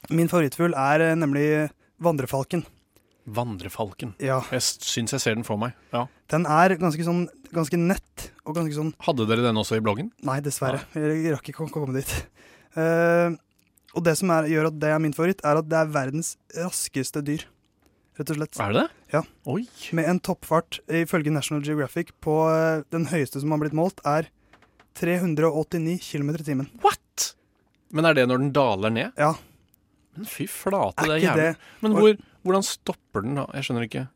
Speaker 3: Min favorittfugl er eh, nemlig vandrefalken.
Speaker 4: Vandrefalken.
Speaker 3: Ja.
Speaker 4: Jeg syns jeg ser den for meg. Ja.
Speaker 3: Den er ganske sånn ganske nett og ganske sånn
Speaker 4: Hadde dere den også i bloggen?
Speaker 3: Nei, dessverre. Jeg rakk ikke å komme dit. Eh, og det som er, gjør at det er min favoritt, er at det er verdens raskeste dyr. Rett og slett.
Speaker 4: Er det det?
Speaker 3: Ja.
Speaker 4: Oi.
Speaker 3: Med en toppfart, ifølge National Geographic, på eh, den høyeste som har blitt målt, er 389 km i timen.
Speaker 4: What?! Men er det når den daler ned?
Speaker 3: Ja,
Speaker 4: Men fy flate,
Speaker 3: er
Speaker 4: det er
Speaker 3: ikke det
Speaker 4: jævlig. Men
Speaker 3: Og-
Speaker 4: hvor, hvordan stopper den da? Jeg skjønner ikke.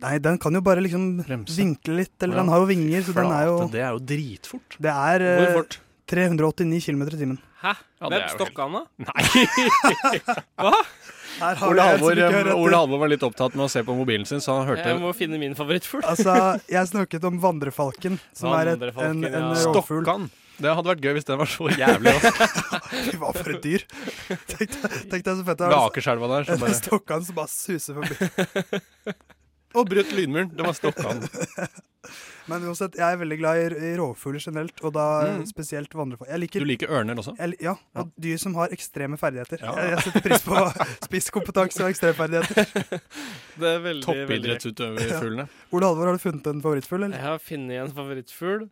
Speaker 3: Nei, den kan jo bare liksom
Speaker 4: Bremse.
Speaker 3: vinkle litt, eller
Speaker 4: Ja.
Speaker 3: den har jo vinger, så den er jo
Speaker 4: Flate, det er jo dritfort.
Speaker 3: Det er
Speaker 4: Hvor
Speaker 3: eh,
Speaker 4: fort?
Speaker 3: 389 km i timen.
Speaker 2: Hæ?
Speaker 4: Ja,
Speaker 2: Hvem?
Speaker 4: det er jo helt...
Speaker 2: Stokkan, da?
Speaker 4: Nei!
Speaker 3: Her
Speaker 4: Ole
Speaker 3: jeg en som
Speaker 4: Halvor, um,
Speaker 3: ikke hører
Speaker 4: Ole
Speaker 3: etter.
Speaker 4: Halvor var litt opptatt med å se på mobilen sin, så han hørte
Speaker 2: Jeg må finne min favorittfugl.
Speaker 3: Altså, jeg snakket om vandrefalken, som er et, en,
Speaker 2: Vandrefalken,
Speaker 3: en
Speaker 2: ja.
Speaker 3: rovfugl.
Speaker 4: Stokkan. Det hadde vært gøy hvis den var så jævlig rask.
Speaker 3: Fy, Hva for et dyr! Tenk deg, tenk deg så fett det
Speaker 4: Ved
Speaker 3: er.
Speaker 4: Akerselva der. Så
Speaker 3: En
Speaker 4: bare
Speaker 3: Stokkan som bare suser forbi.
Speaker 4: Å, brøt lydmuren! Det var Stokkan.
Speaker 3: Men uansett, jeg er veldig glad i, i rovfugler generelt, og da
Speaker 4: Mm.
Speaker 3: spesielt vandrefugler. Jeg
Speaker 4: Du
Speaker 3: liker
Speaker 4: liker ørner også?
Speaker 3: jeg, li- ja, og dyr som har ekstreme ferdigheter.
Speaker 4: Ja.
Speaker 3: Jeg, jeg setter pris på spisskompetanse og ekstremferdigheter.
Speaker 2: Det er veldig,
Speaker 4: Toppidrettsutøverfuglene.
Speaker 3: Ole Halvor, har du funnet en favorittfugl,
Speaker 2: Jeg
Speaker 3: eller?
Speaker 2: har funnet en favorittfugl.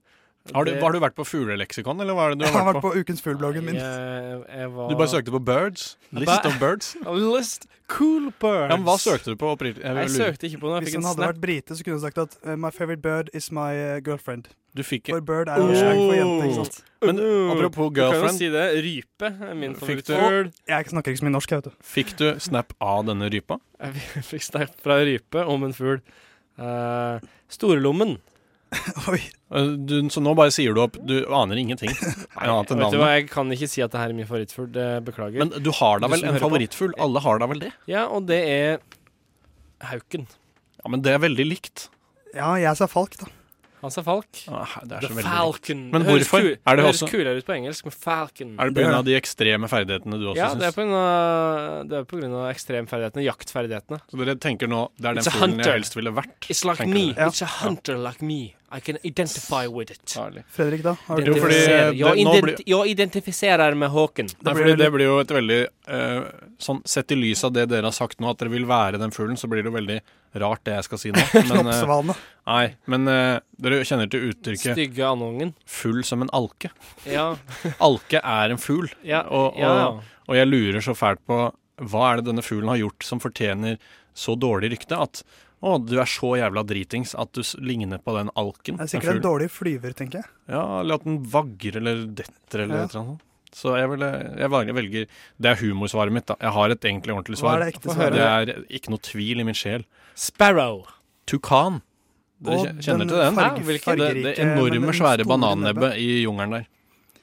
Speaker 4: Har, du-
Speaker 2: Det-
Speaker 4: har du vært på fugleleksikon, eller hva er det du
Speaker 3: Jeg
Speaker 4: har
Speaker 3: har
Speaker 4: vært eh,
Speaker 3: vært
Speaker 4: på?
Speaker 3: på Ukens fugl-bloggen min.
Speaker 2: Nei, Jeg, jeg var
Speaker 4: Du bare søkte på birds?
Speaker 2: Ba-
Speaker 4: List of birds?
Speaker 2: A List cool birds.
Speaker 4: Ja, men hva søkte du på opprinnelig? Jeg
Speaker 2: Jeg
Speaker 4: lurer.
Speaker 2: søkte ikke på noe. Jeg
Speaker 3: Hvis
Speaker 2: fikk
Speaker 3: han
Speaker 2: en
Speaker 3: hadde
Speaker 2: snap.
Speaker 3: vært brite, så kunne han sagt at eh, 'My favorite bird is my eh, girlfriend'.
Speaker 4: Du fikk
Speaker 3: For bird er jo slang for jente,
Speaker 4: Oh.
Speaker 3: ikke sant.
Speaker 4: Men apropos
Speaker 2: Du kan jo
Speaker 4: girlfriend,
Speaker 2: si det. Rype er min
Speaker 4: Fikk du-
Speaker 2: favorittfugl.
Speaker 3: Jeg snakker ikke så mye norsk, jeg, vet du.
Speaker 4: fikk du snap av denne rypa?
Speaker 2: Jeg fikk snap fra rype om en fugl. Eh, storlommen.
Speaker 3: Oi.
Speaker 4: Eh, Du, så nå bare sier du opp. Du aner ingenting annet enn
Speaker 2: Vet du hva,
Speaker 4: navnet.
Speaker 2: jeg kan ikke si at det her er min favorittfugl. det- Beklager.
Speaker 4: Men du har da
Speaker 2: Du
Speaker 4: vel
Speaker 2: som
Speaker 4: en
Speaker 2: hører på.
Speaker 4: favorittfugl? Alle har da vel det?
Speaker 2: ja, og det er hauken.
Speaker 4: Ja, Men det er veldig likt.
Speaker 3: Ja, jeg sa falk, da.
Speaker 2: Han sa falk.
Speaker 4: Ah, Det er
Speaker 2: The
Speaker 4: så veldig likt.
Speaker 2: Falcon.
Speaker 4: Men
Speaker 2: Det høres
Speaker 4: hvorfor?
Speaker 2: kul-
Speaker 4: Er det
Speaker 2: høres
Speaker 4: også-
Speaker 2: kulere ut på engelsk med falcon.
Speaker 4: Er det
Speaker 3: Det er
Speaker 4: pga. de ekstreme ferdighetene du også sånn
Speaker 2: ja, det er
Speaker 4: syns?
Speaker 2: på grunn av, det er på grunn av ekstremferdighetene, jaktferdighetene.
Speaker 4: Så dere tenker nå det er den
Speaker 2: It's a
Speaker 4: fuglen
Speaker 2: hunter.
Speaker 4: jeg helst ville vært?
Speaker 2: It's like
Speaker 4: Tenker
Speaker 2: me.
Speaker 4: dere.
Speaker 2: It's a hunter like me. I can identify with it.
Speaker 4: Herlig.
Speaker 3: Fredrik, da? Har du-
Speaker 4: Jo, fordi
Speaker 2: Identifiserer.
Speaker 4: det-
Speaker 2: jeg,
Speaker 4: nå
Speaker 2: ident
Speaker 4: blir-
Speaker 2: jeg identifiserer med Håken.
Speaker 4: Nei,
Speaker 3: blir
Speaker 4: fordi
Speaker 3: det
Speaker 4: det blir jo et veldig eh, sånn, Sett i lys av det dere har sagt nå, at dere vil være den fuglen, så blir det jo veldig rart det jeg skal si nå. Men, eh,
Speaker 3: Knoppsvalene.
Speaker 4: nei, men eh, dere kjenner til uttrykket
Speaker 2: Stygge andungen.
Speaker 4: 'full som en alke'.
Speaker 2: Ja,
Speaker 4: Alke er en fugl,
Speaker 2: ja,
Speaker 4: Og- og-
Speaker 2: ja, ja.
Speaker 4: og jeg lurer så fælt på hva er det denne fuglen har gjort som fortjener så dårlig rykte at å, du er så jævla dritings at du s- ligner på den alken.
Speaker 3: Det er
Speaker 4: en
Speaker 3: sikkert en
Speaker 4: fugl.
Speaker 3: dårlig flyver, tenker jeg.
Speaker 4: Ja, eller at den vagrer eller detter eller
Speaker 3: Ja.
Speaker 4: et eller annet. Så jeg, vil, jeg valg- velger Det er humorsvaret mitt, da. Jeg har et egentlig ordentlig
Speaker 3: Hva
Speaker 4: svar.
Speaker 3: er det ekte
Speaker 2: Få
Speaker 3: svaret?
Speaker 4: Det er ikke noe tvil i min sjel.
Speaker 2: Sparrow.
Speaker 4: Tukan. Dere
Speaker 3: Og
Speaker 4: kje- kjenner
Speaker 3: den
Speaker 4: til
Speaker 2: fargen,
Speaker 4: den?
Speaker 3: farge-
Speaker 2: Ja, hvilken-
Speaker 4: Det,
Speaker 3: fargerike,
Speaker 4: det
Speaker 3: men
Speaker 4: enorme,
Speaker 3: den
Speaker 4: svære
Speaker 3: store nebbet.
Speaker 4: banannebbet i jungelen der.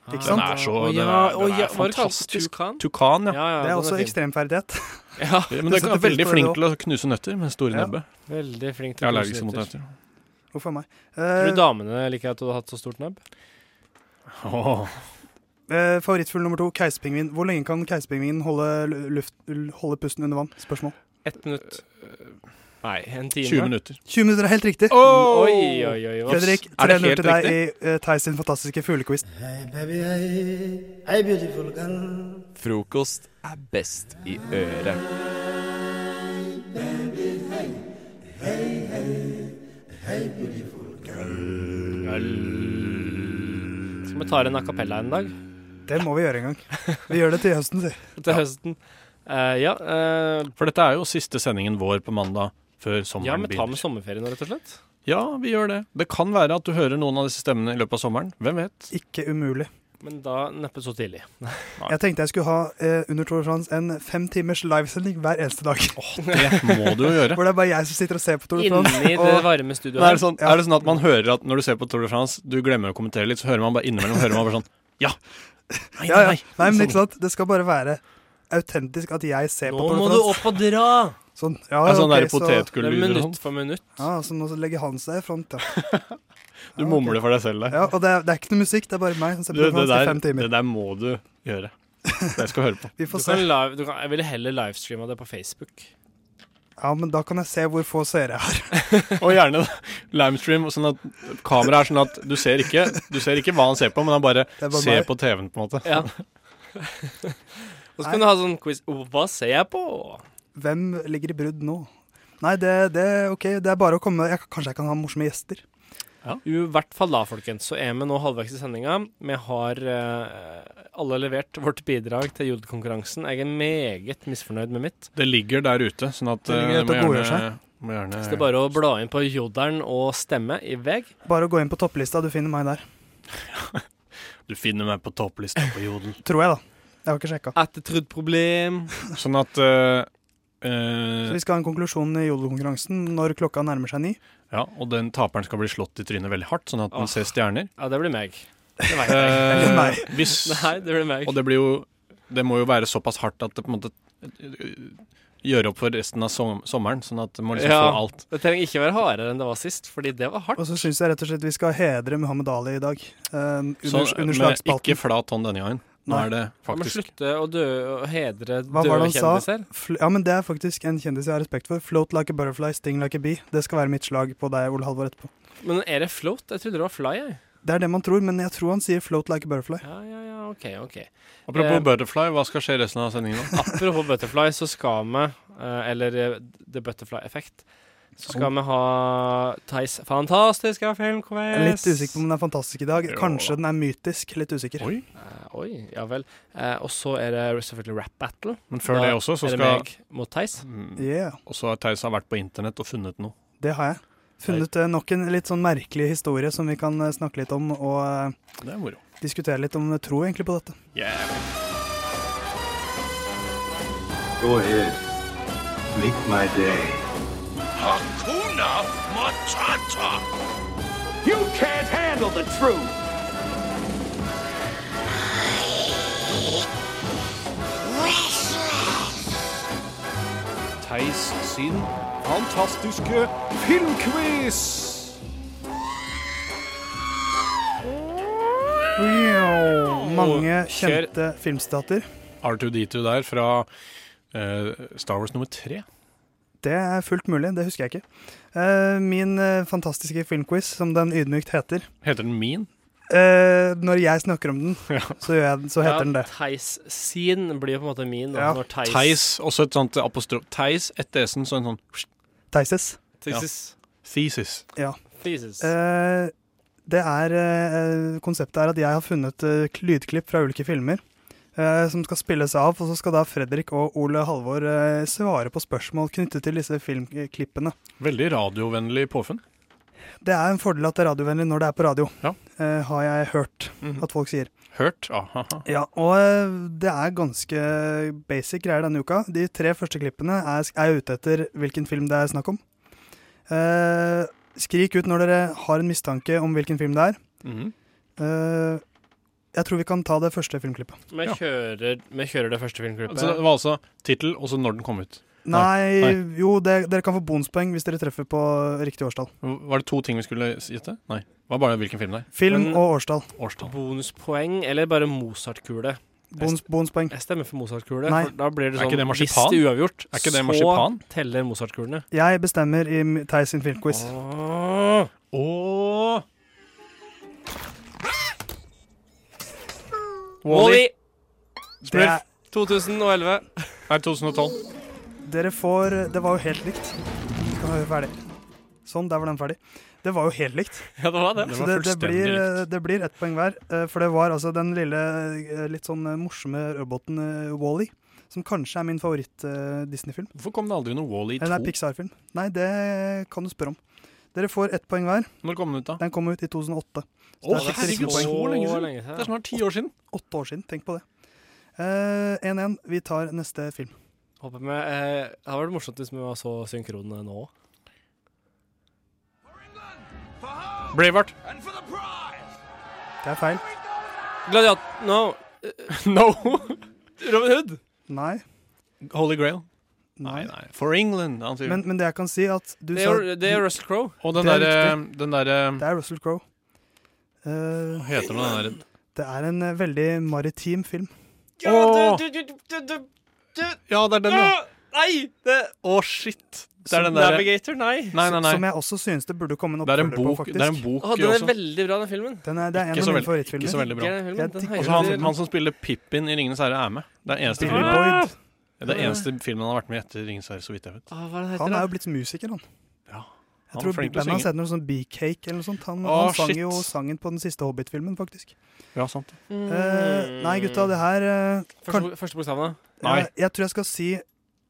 Speaker 3: Ikke
Speaker 4: Den
Speaker 3: sant?
Speaker 4: er så
Speaker 2: Å,
Speaker 4: den
Speaker 2: Ah. ja,
Speaker 4: er,
Speaker 2: å,
Speaker 4: den
Speaker 2: ja,
Speaker 4: er
Speaker 2: var det kalt
Speaker 4: fantastisk.
Speaker 2: Tukan?
Speaker 4: Tukan, ja.
Speaker 2: Ja, ja,
Speaker 3: Det er
Speaker 2: den
Speaker 3: også
Speaker 2: fin.
Speaker 3: ekstremferdighet.
Speaker 2: Ja,
Speaker 4: Men
Speaker 3: Du
Speaker 4: det
Speaker 3: setter
Speaker 4: er
Speaker 3: pris på
Speaker 4: veldig
Speaker 3: det
Speaker 4: flink
Speaker 3: også.
Speaker 4: til å knuse nøtter med store
Speaker 3: Ja.
Speaker 4: nebbet.
Speaker 2: veldig flink
Speaker 4: Jeg
Speaker 2: til
Speaker 4: er
Speaker 2: å
Speaker 4: allergisk
Speaker 2: kose
Speaker 4: mot
Speaker 2: nøtter.
Speaker 4: nøtter.
Speaker 3: Hvorfor meg?
Speaker 2: Tror du
Speaker 3: Eh,
Speaker 2: damene liker at du har hatt så stort nebb?
Speaker 4: Åh.
Speaker 3: eh, favorittfugl nummer to, keiserpingvin. Hvor lenge kan keiserpingvinen holde, lu- luft- l- holde pusten under vann? Spørsmål.
Speaker 2: Ett minutt. Nei, en time.
Speaker 4: 20 minutter.
Speaker 3: 20 minutter er helt riktig.
Speaker 2: Oi, oi, oi. hva-
Speaker 3: Fredrik,
Speaker 4: Er
Speaker 3: 3-0
Speaker 4: det helt
Speaker 3: til deg i uh, Theis sin fantastiske fuglequiz.
Speaker 1: Frokost er best i øret.
Speaker 2: Skal vi ta en a cappella en dag?
Speaker 3: Det må vi gjøre en gang. Vi gjør det til høsten, si.
Speaker 2: Til høsten. Eh, ja, eh,
Speaker 4: For dette er jo siste sendingen vår på mandag før
Speaker 2: ja,
Speaker 4: sommeren
Speaker 2: men ta
Speaker 4: begynner.
Speaker 2: med sommerferien, rett og slett.
Speaker 4: Ja, vi gjør det. Det kan være at du hører noen av disse stemmene i løpet av sommeren. Hvem vet?
Speaker 3: Ikke umulig.
Speaker 2: Men da neppe så tidlig.
Speaker 3: Jeg tenkte jeg skulle ha eh, under Tour de France en fem timers livesending hver eneste dag.
Speaker 4: Det må du jo gjøre.
Speaker 3: Hvor det er bare jeg som sitter og ser på Tour de France.
Speaker 2: Inni det
Speaker 3: Og
Speaker 2: varme studioet.
Speaker 4: Men er, det
Speaker 2: her.
Speaker 4: sånn, er det sånn at man hører at når du ser på Tour de France, du glemmer å kommentere litt, så hører man bare innimellom hører man bare sånn Ja! Nei,
Speaker 3: Ja, ja.
Speaker 4: nei,
Speaker 3: Nei, men ikke sant? Det skal bare være autentisk at jeg ser på
Speaker 2: sånn. Nå
Speaker 3: Tour
Speaker 2: må
Speaker 3: de
Speaker 2: du
Speaker 3: France.
Speaker 2: opp og dra!
Speaker 3: Sånn, ja,
Speaker 4: Ja,
Speaker 3: ok,
Speaker 4: sånn
Speaker 2: Det
Speaker 4: der
Speaker 2: er
Speaker 4: potetgulllyder og sånn.
Speaker 2: minutt for minutt.
Speaker 3: Så, ja, så nå legger han seg i front, ja.
Speaker 4: Du
Speaker 3: Ja, Ah, ok.
Speaker 4: mumler for deg selv der.
Speaker 3: Ja, og det er, det er ikke noe musikk, det er bare meg som ser
Speaker 4: Du,
Speaker 3: på
Speaker 4: det,
Speaker 3: Tour de France i
Speaker 4: der,
Speaker 3: fem
Speaker 4: det
Speaker 3: timer.
Speaker 4: der må du gjøre. Det skal jeg høre på.
Speaker 3: Vi
Speaker 2: Du
Speaker 3: får se.
Speaker 2: kan live, du kan, jeg ville heller livestreama det på Facebook.
Speaker 3: Ja, men da kan jeg se hvor få seere jeg har.
Speaker 4: Og gjerne limestream, sånn at kameraet er sånn at du ser ikke Du ser ikke hva han ser på, men han bare
Speaker 3: Det er bare
Speaker 4: ser
Speaker 3: meg.
Speaker 4: på TV-en, på en måte.
Speaker 2: Ja. og så kan du ha sånn quiz Hva ser jeg på?
Speaker 3: Hvem ligger i brudd nå? Nei, det, det, ok, det er bare å komme jeg, Kanskje jeg kan ha morsomme gjester.
Speaker 2: I hvert fall da, folkens, så er vi nå halvveis i sendinga. Vi har eh, alle levert vårt bidrag til jodelkonkurransen. Jeg er meget misfornøyd med mitt.
Speaker 4: Det ligger der ute, sånn at
Speaker 3: Det
Speaker 4: eh,
Speaker 3: ligger
Speaker 4: du
Speaker 3: ute
Speaker 4: må
Speaker 3: og godgjør
Speaker 4: gjerne, må gjerne
Speaker 2: Så det er bare å bla inn på jodelen og stemme i veg.
Speaker 3: Bare å gå inn på topplista, du finner meg der.
Speaker 4: Du finner meg på topplista på Jodel.
Speaker 3: Tror jeg, da. Jeg har ikke sjekka.
Speaker 2: Ettertrudd problem.
Speaker 4: Sånn at eh, eh,
Speaker 3: Så vi skal ha en konklusjon i jodelkonkurransen når klokka nærmer seg ni.
Speaker 4: Ja, og den taperen skal bli slått i trynet veldig hardt, sånn at
Speaker 2: Åh.
Speaker 4: den ser stjerner.
Speaker 2: Ja, det blir meg. Det vet jeg.
Speaker 4: Eh,
Speaker 3: Nei.
Speaker 4: hvis,
Speaker 2: Nei, det blir meg.
Speaker 4: og det blir jo Det må jo være såpass hardt at det på en måte eh, gjør opp for resten av som, sommeren, sånn at det må liksom
Speaker 2: Ja.
Speaker 4: få alt.
Speaker 2: Det trenger ikke være hardere enn det var sist, fordi det var hardt.
Speaker 3: Og så syns jeg rett og slett vi skal hedre Muhammed Ali i dag. eh, under,
Speaker 4: Så,
Speaker 3: under
Speaker 4: Sånn, men ikke
Speaker 3: slagspalten.
Speaker 4: flat hånd denne gangen. Nå
Speaker 3: Nei.
Speaker 4: er det
Speaker 2: Vi må
Speaker 4: faktisk
Speaker 2: slutte å dø og hedre
Speaker 3: var
Speaker 2: døde
Speaker 3: det han sa?
Speaker 2: kjendiser.
Speaker 3: Fl- Ja, men Det er faktisk en kjendis jeg har respekt for. Float like a butterfly, sting like a bee. Det skal være mitt slag på deg, Ole Halvor, etterpå.
Speaker 2: Men er det float? Jeg trodde det var fly, jeg.
Speaker 3: Det er det man tror, men jeg tror han sier float like a butterfly.
Speaker 2: Ja, ja, ja, ok, ok.
Speaker 4: Apropos
Speaker 2: Eh,
Speaker 4: butterfly, hva skal skje resten av sendingen nå?
Speaker 2: Apropos butterfly, så skal vi, eh, eller eh, The Butterfly Effect, så skal vi ha Theis fantastiske
Speaker 3: Jeg
Speaker 2: filmquiz.
Speaker 3: er litt usikker på om den er fantastisk i dag.
Speaker 4: Jo.
Speaker 3: Kanskje den er mytisk. Litt usikker.
Speaker 4: Oi.
Speaker 2: Eh, oi, ja vel. Eh, og så er det selvfølgelig Rap Battle.
Speaker 4: Men før
Speaker 2: Da
Speaker 4: det også, så
Speaker 2: er det
Speaker 4: skal
Speaker 2: meg mot Theis.
Speaker 4: Mm,
Speaker 3: Yeah,
Speaker 4: Og så har Theis har vært på internett og funnet noe.
Speaker 3: det har jeg. Funnet eh, nok en litt sånn merkelig historie som vi kan eh, snakke litt om, og eh,
Speaker 4: Det er moro.
Speaker 3: diskutere litt om eh, tro egentlig på dette.
Speaker 4: Yeah.
Speaker 9: Go ahead. Make my day.
Speaker 10: Hakuna Matata. You can't handle the truth. Theis sin fantastiske filmquiz.
Speaker 3: Wow. Mange
Speaker 4: Kjør.
Speaker 3: kjente filmstater.
Speaker 4: R2D2 der fra eh, Star Wars nummer tre.
Speaker 3: Det er fullt mulig, det husker jeg ikke. Eh, min eh, fantastiske filmquiz, som den ydmykt heter.
Speaker 4: Heter den min?
Speaker 3: Eh, når jeg snakker om den, så, gjør jeg den, så heter den det.
Speaker 2: Theis sin blir jo på en måte min. Da,
Speaker 3: Ja.
Speaker 2: når Theis,
Speaker 4: Theis, også et sånt apostrof. Theis etter S-en, så en sånn
Speaker 3: Thesis.
Speaker 2: Thesis.
Speaker 4: thesis.
Speaker 3: Ja.
Speaker 2: Thesis.
Speaker 3: Eh, det er eh, Konseptet er at jeg har funnet eh, lydklipp fra ulike filmer eh, som skal spilles av, og så skal da Fredrik og Ole Halvor eh, svare på spørsmål knyttet til disse filmklippene.
Speaker 4: Veldig radiovennlig påfunn.
Speaker 3: Det er en fordel at det er radiovennlig når det er på radio,
Speaker 4: Ja.
Speaker 3: eh, har jeg hørt at folk sier.
Speaker 4: Hørt? Aha.
Speaker 3: Ja, og eh, det er ganske basic greier denne uka. De tre første klippene er, er jeg ute etter hvilken film det er snakk om. Eh, skrik ut når dere har en mistanke om hvilken film det er.
Speaker 4: Mhm.
Speaker 3: Eh, jeg tror vi kan ta det første filmklippet.
Speaker 2: Vi
Speaker 4: ja.
Speaker 2: kjører, vi kjører det første filmklippet.
Speaker 4: Altså, det var altså tittel, og så når den kom ut.
Speaker 3: Nei,
Speaker 4: nei.
Speaker 3: jo, det, dere kan få bonuspoeng hvis dere treffer på riktig årstall.
Speaker 4: Var det to ting vi skulle gjette? Nei. Det var bare hvilken film det er.
Speaker 3: Film
Speaker 2: Men-
Speaker 3: og årstall.
Speaker 4: Årstall.
Speaker 2: Bonuspoeng eller bare Mozart-kule?
Speaker 3: Bonus, bonuspoeng.
Speaker 2: Jeg stemmer for Mozart-kule.
Speaker 3: Nei.
Speaker 2: for Da blir det
Speaker 4: Er
Speaker 2: sånn
Speaker 4: ikke det
Speaker 2: Hvis
Speaker 4: marsipan?
Speaker 2: det er uavgjort,
Speaker 4: Er ikke det
Speaker 2: så
Speaker 4: marsipan?
Speaker 2: teller Mozart-kulene.
Speaker 3: Jeg bestemmer i m- Theis sin filmquiz.
Speaker 2: Åh.
Speaker 4: Åh!
Speaker 2: Wall-E!
Speaker 3: Det er,
Speaker 2: 2011.
Speaker 4: Nei, 2012.
Speaker 3: dere får Det var jo helt likt. Skal vi høre ferdig. Sånn, der var den ferdig. Det var jo helt likt.
Speaker 2: Ja, det var det.
Speaker 4: Det
Speaker 3: Så
Speaker 4: var
Speaker 3: det, det,
Speaker 4: fullstendig
Speaker 3: blir, eh,
Speaker 4: likt.
Speaker 3: det blir ett poeng hver. eh, For det var altså den lille, eh, litt sånn eh, morsomme roboten Wally, som kanskje er min favoritt-Disney-film.
Speaker 4: Hvorfor kom det aldri noe Wall-E
Speaker 3: Eller
Speaker 4: 2?
Speaker 3: nei, Pixar-film. Nei, det kan du spørre om. Dere får ett poeng hver.
Speaker 4: Når kom den ut, da?
Speaker 3: Den kom ut i 2008.
Speaker 4: Å,
Speaker 3: der fikk dere ikke
Speaker 4: herregud,
Speaker 3: poeng.
Speaker 4: så lenge siden!
Speaker 2: lenge
Speaker 4: Det er snart ti år siden.
Speaker 3: Åtte år siden, tenk på det. Eh, 1-1. Vi tar neste film.
Speaker 2: Håper vi, eh, det hadde vært morsomt hvis vi var så synkrone nå òg.
Speaker 4: Braveheart.
Speaker 3: Det er feil.
Speaker 2: Gladiat... No.
Speaker 4: No!
Speaker 2: Robin Hood.
Speaker 3: Nei.
Speaker 4: Holy Grail.
Speaker 3: Nei.
Speaker 4: Nei, nei. For England. Han sier.
Speaker 3: Men, men det jeg kan si, at du
Speaker 2: Det
Speaker 3: sa
Speaker 2: er, det er Russell Crowe.
Speaker 4: og den
Speaker 3: det er
Speaker 4: derre Den derre
Speaker 3: Det er Russell Crowe. Eh,
Speaker 4: Hva heter den derre
Speaker 3: det er en eh, veldig maritim film.
Speaker 4: Åh!
Speaker 2: du, du, du, du,
Speaker 4: Ja, det er den, da.
Speaker 2: Nei! Det,
Speaker 4: Å, shit. Det er den derre
Speaker 2: Navigator, nei.
Speaker 4: Ah! Nei, nei,
Speaker 3: Som
Speaker 4: nei.
Speaker 3: jeg også synes det burde komme en
Speaker 4: Det er en
Speaker 3: oppfølger på,
Speaker 4: bok,
Speaker 3: faktisk.
Speaker 4: det er en bok
Speaker 2: Å, den er
Speaker 4: også.
Speaker 2: veldig bra, den filmen.
Speaker 3: Den er, det er en
Speaker 4: Ikke
Speaker 3: av
Speaker 4: så
Speaker 3: mine
Speaker 4: veldig- Ikke så
Speaker 3: favorittfilmer.
Speaker 4: veldig bra.
Speaker 2: Den filmen, den
Speaker 3: Jeg-
Speaker 2: hører
Speaker 4: Og så han,
Speaker 2: til-
Speaker 4: han som spiller Pippin i 'Ringenes herre', er med. Det er eneste
Speaker 3: Billy
Speaker 4: filmen,
Speaker 3: Boyd.
Speaker 4: det er eneste filmen han har vært med i etter 'Ringenes herre', så vidt jeg vet.
Speaker 2: Å, Ah, hva er det
Speaker 3: Han er
Speaker 2: heter,
Speaker 3: jo blitt musiker, han.
Speaker 4: Ja, han
Speaker 3: Jeg
Speaker 4: er
Speaker 3: tror
Speaker 4: flink til å
Speaker 3: bandet hans
Speaker 4: synge.
Speaker 3: heter noe sånn Beecake eller noe sånt. Han,
Speaker 4: Å,
Speaker 3: han sang
Speaker 4: shit.
Speaker 3: jo sangen på den siste Hobbit-filmen, faktisk.
Speaker 4: Ja, sant.
Speaker 2: da? Mm.
Speaker 3: Eh, nei, gutta, det her eh, kan,
Speaker 2: Første, første bokstaven, da?
Speaker 4: Mm. Nei.
Speaker 3: jeg, jeg tror jeg skal si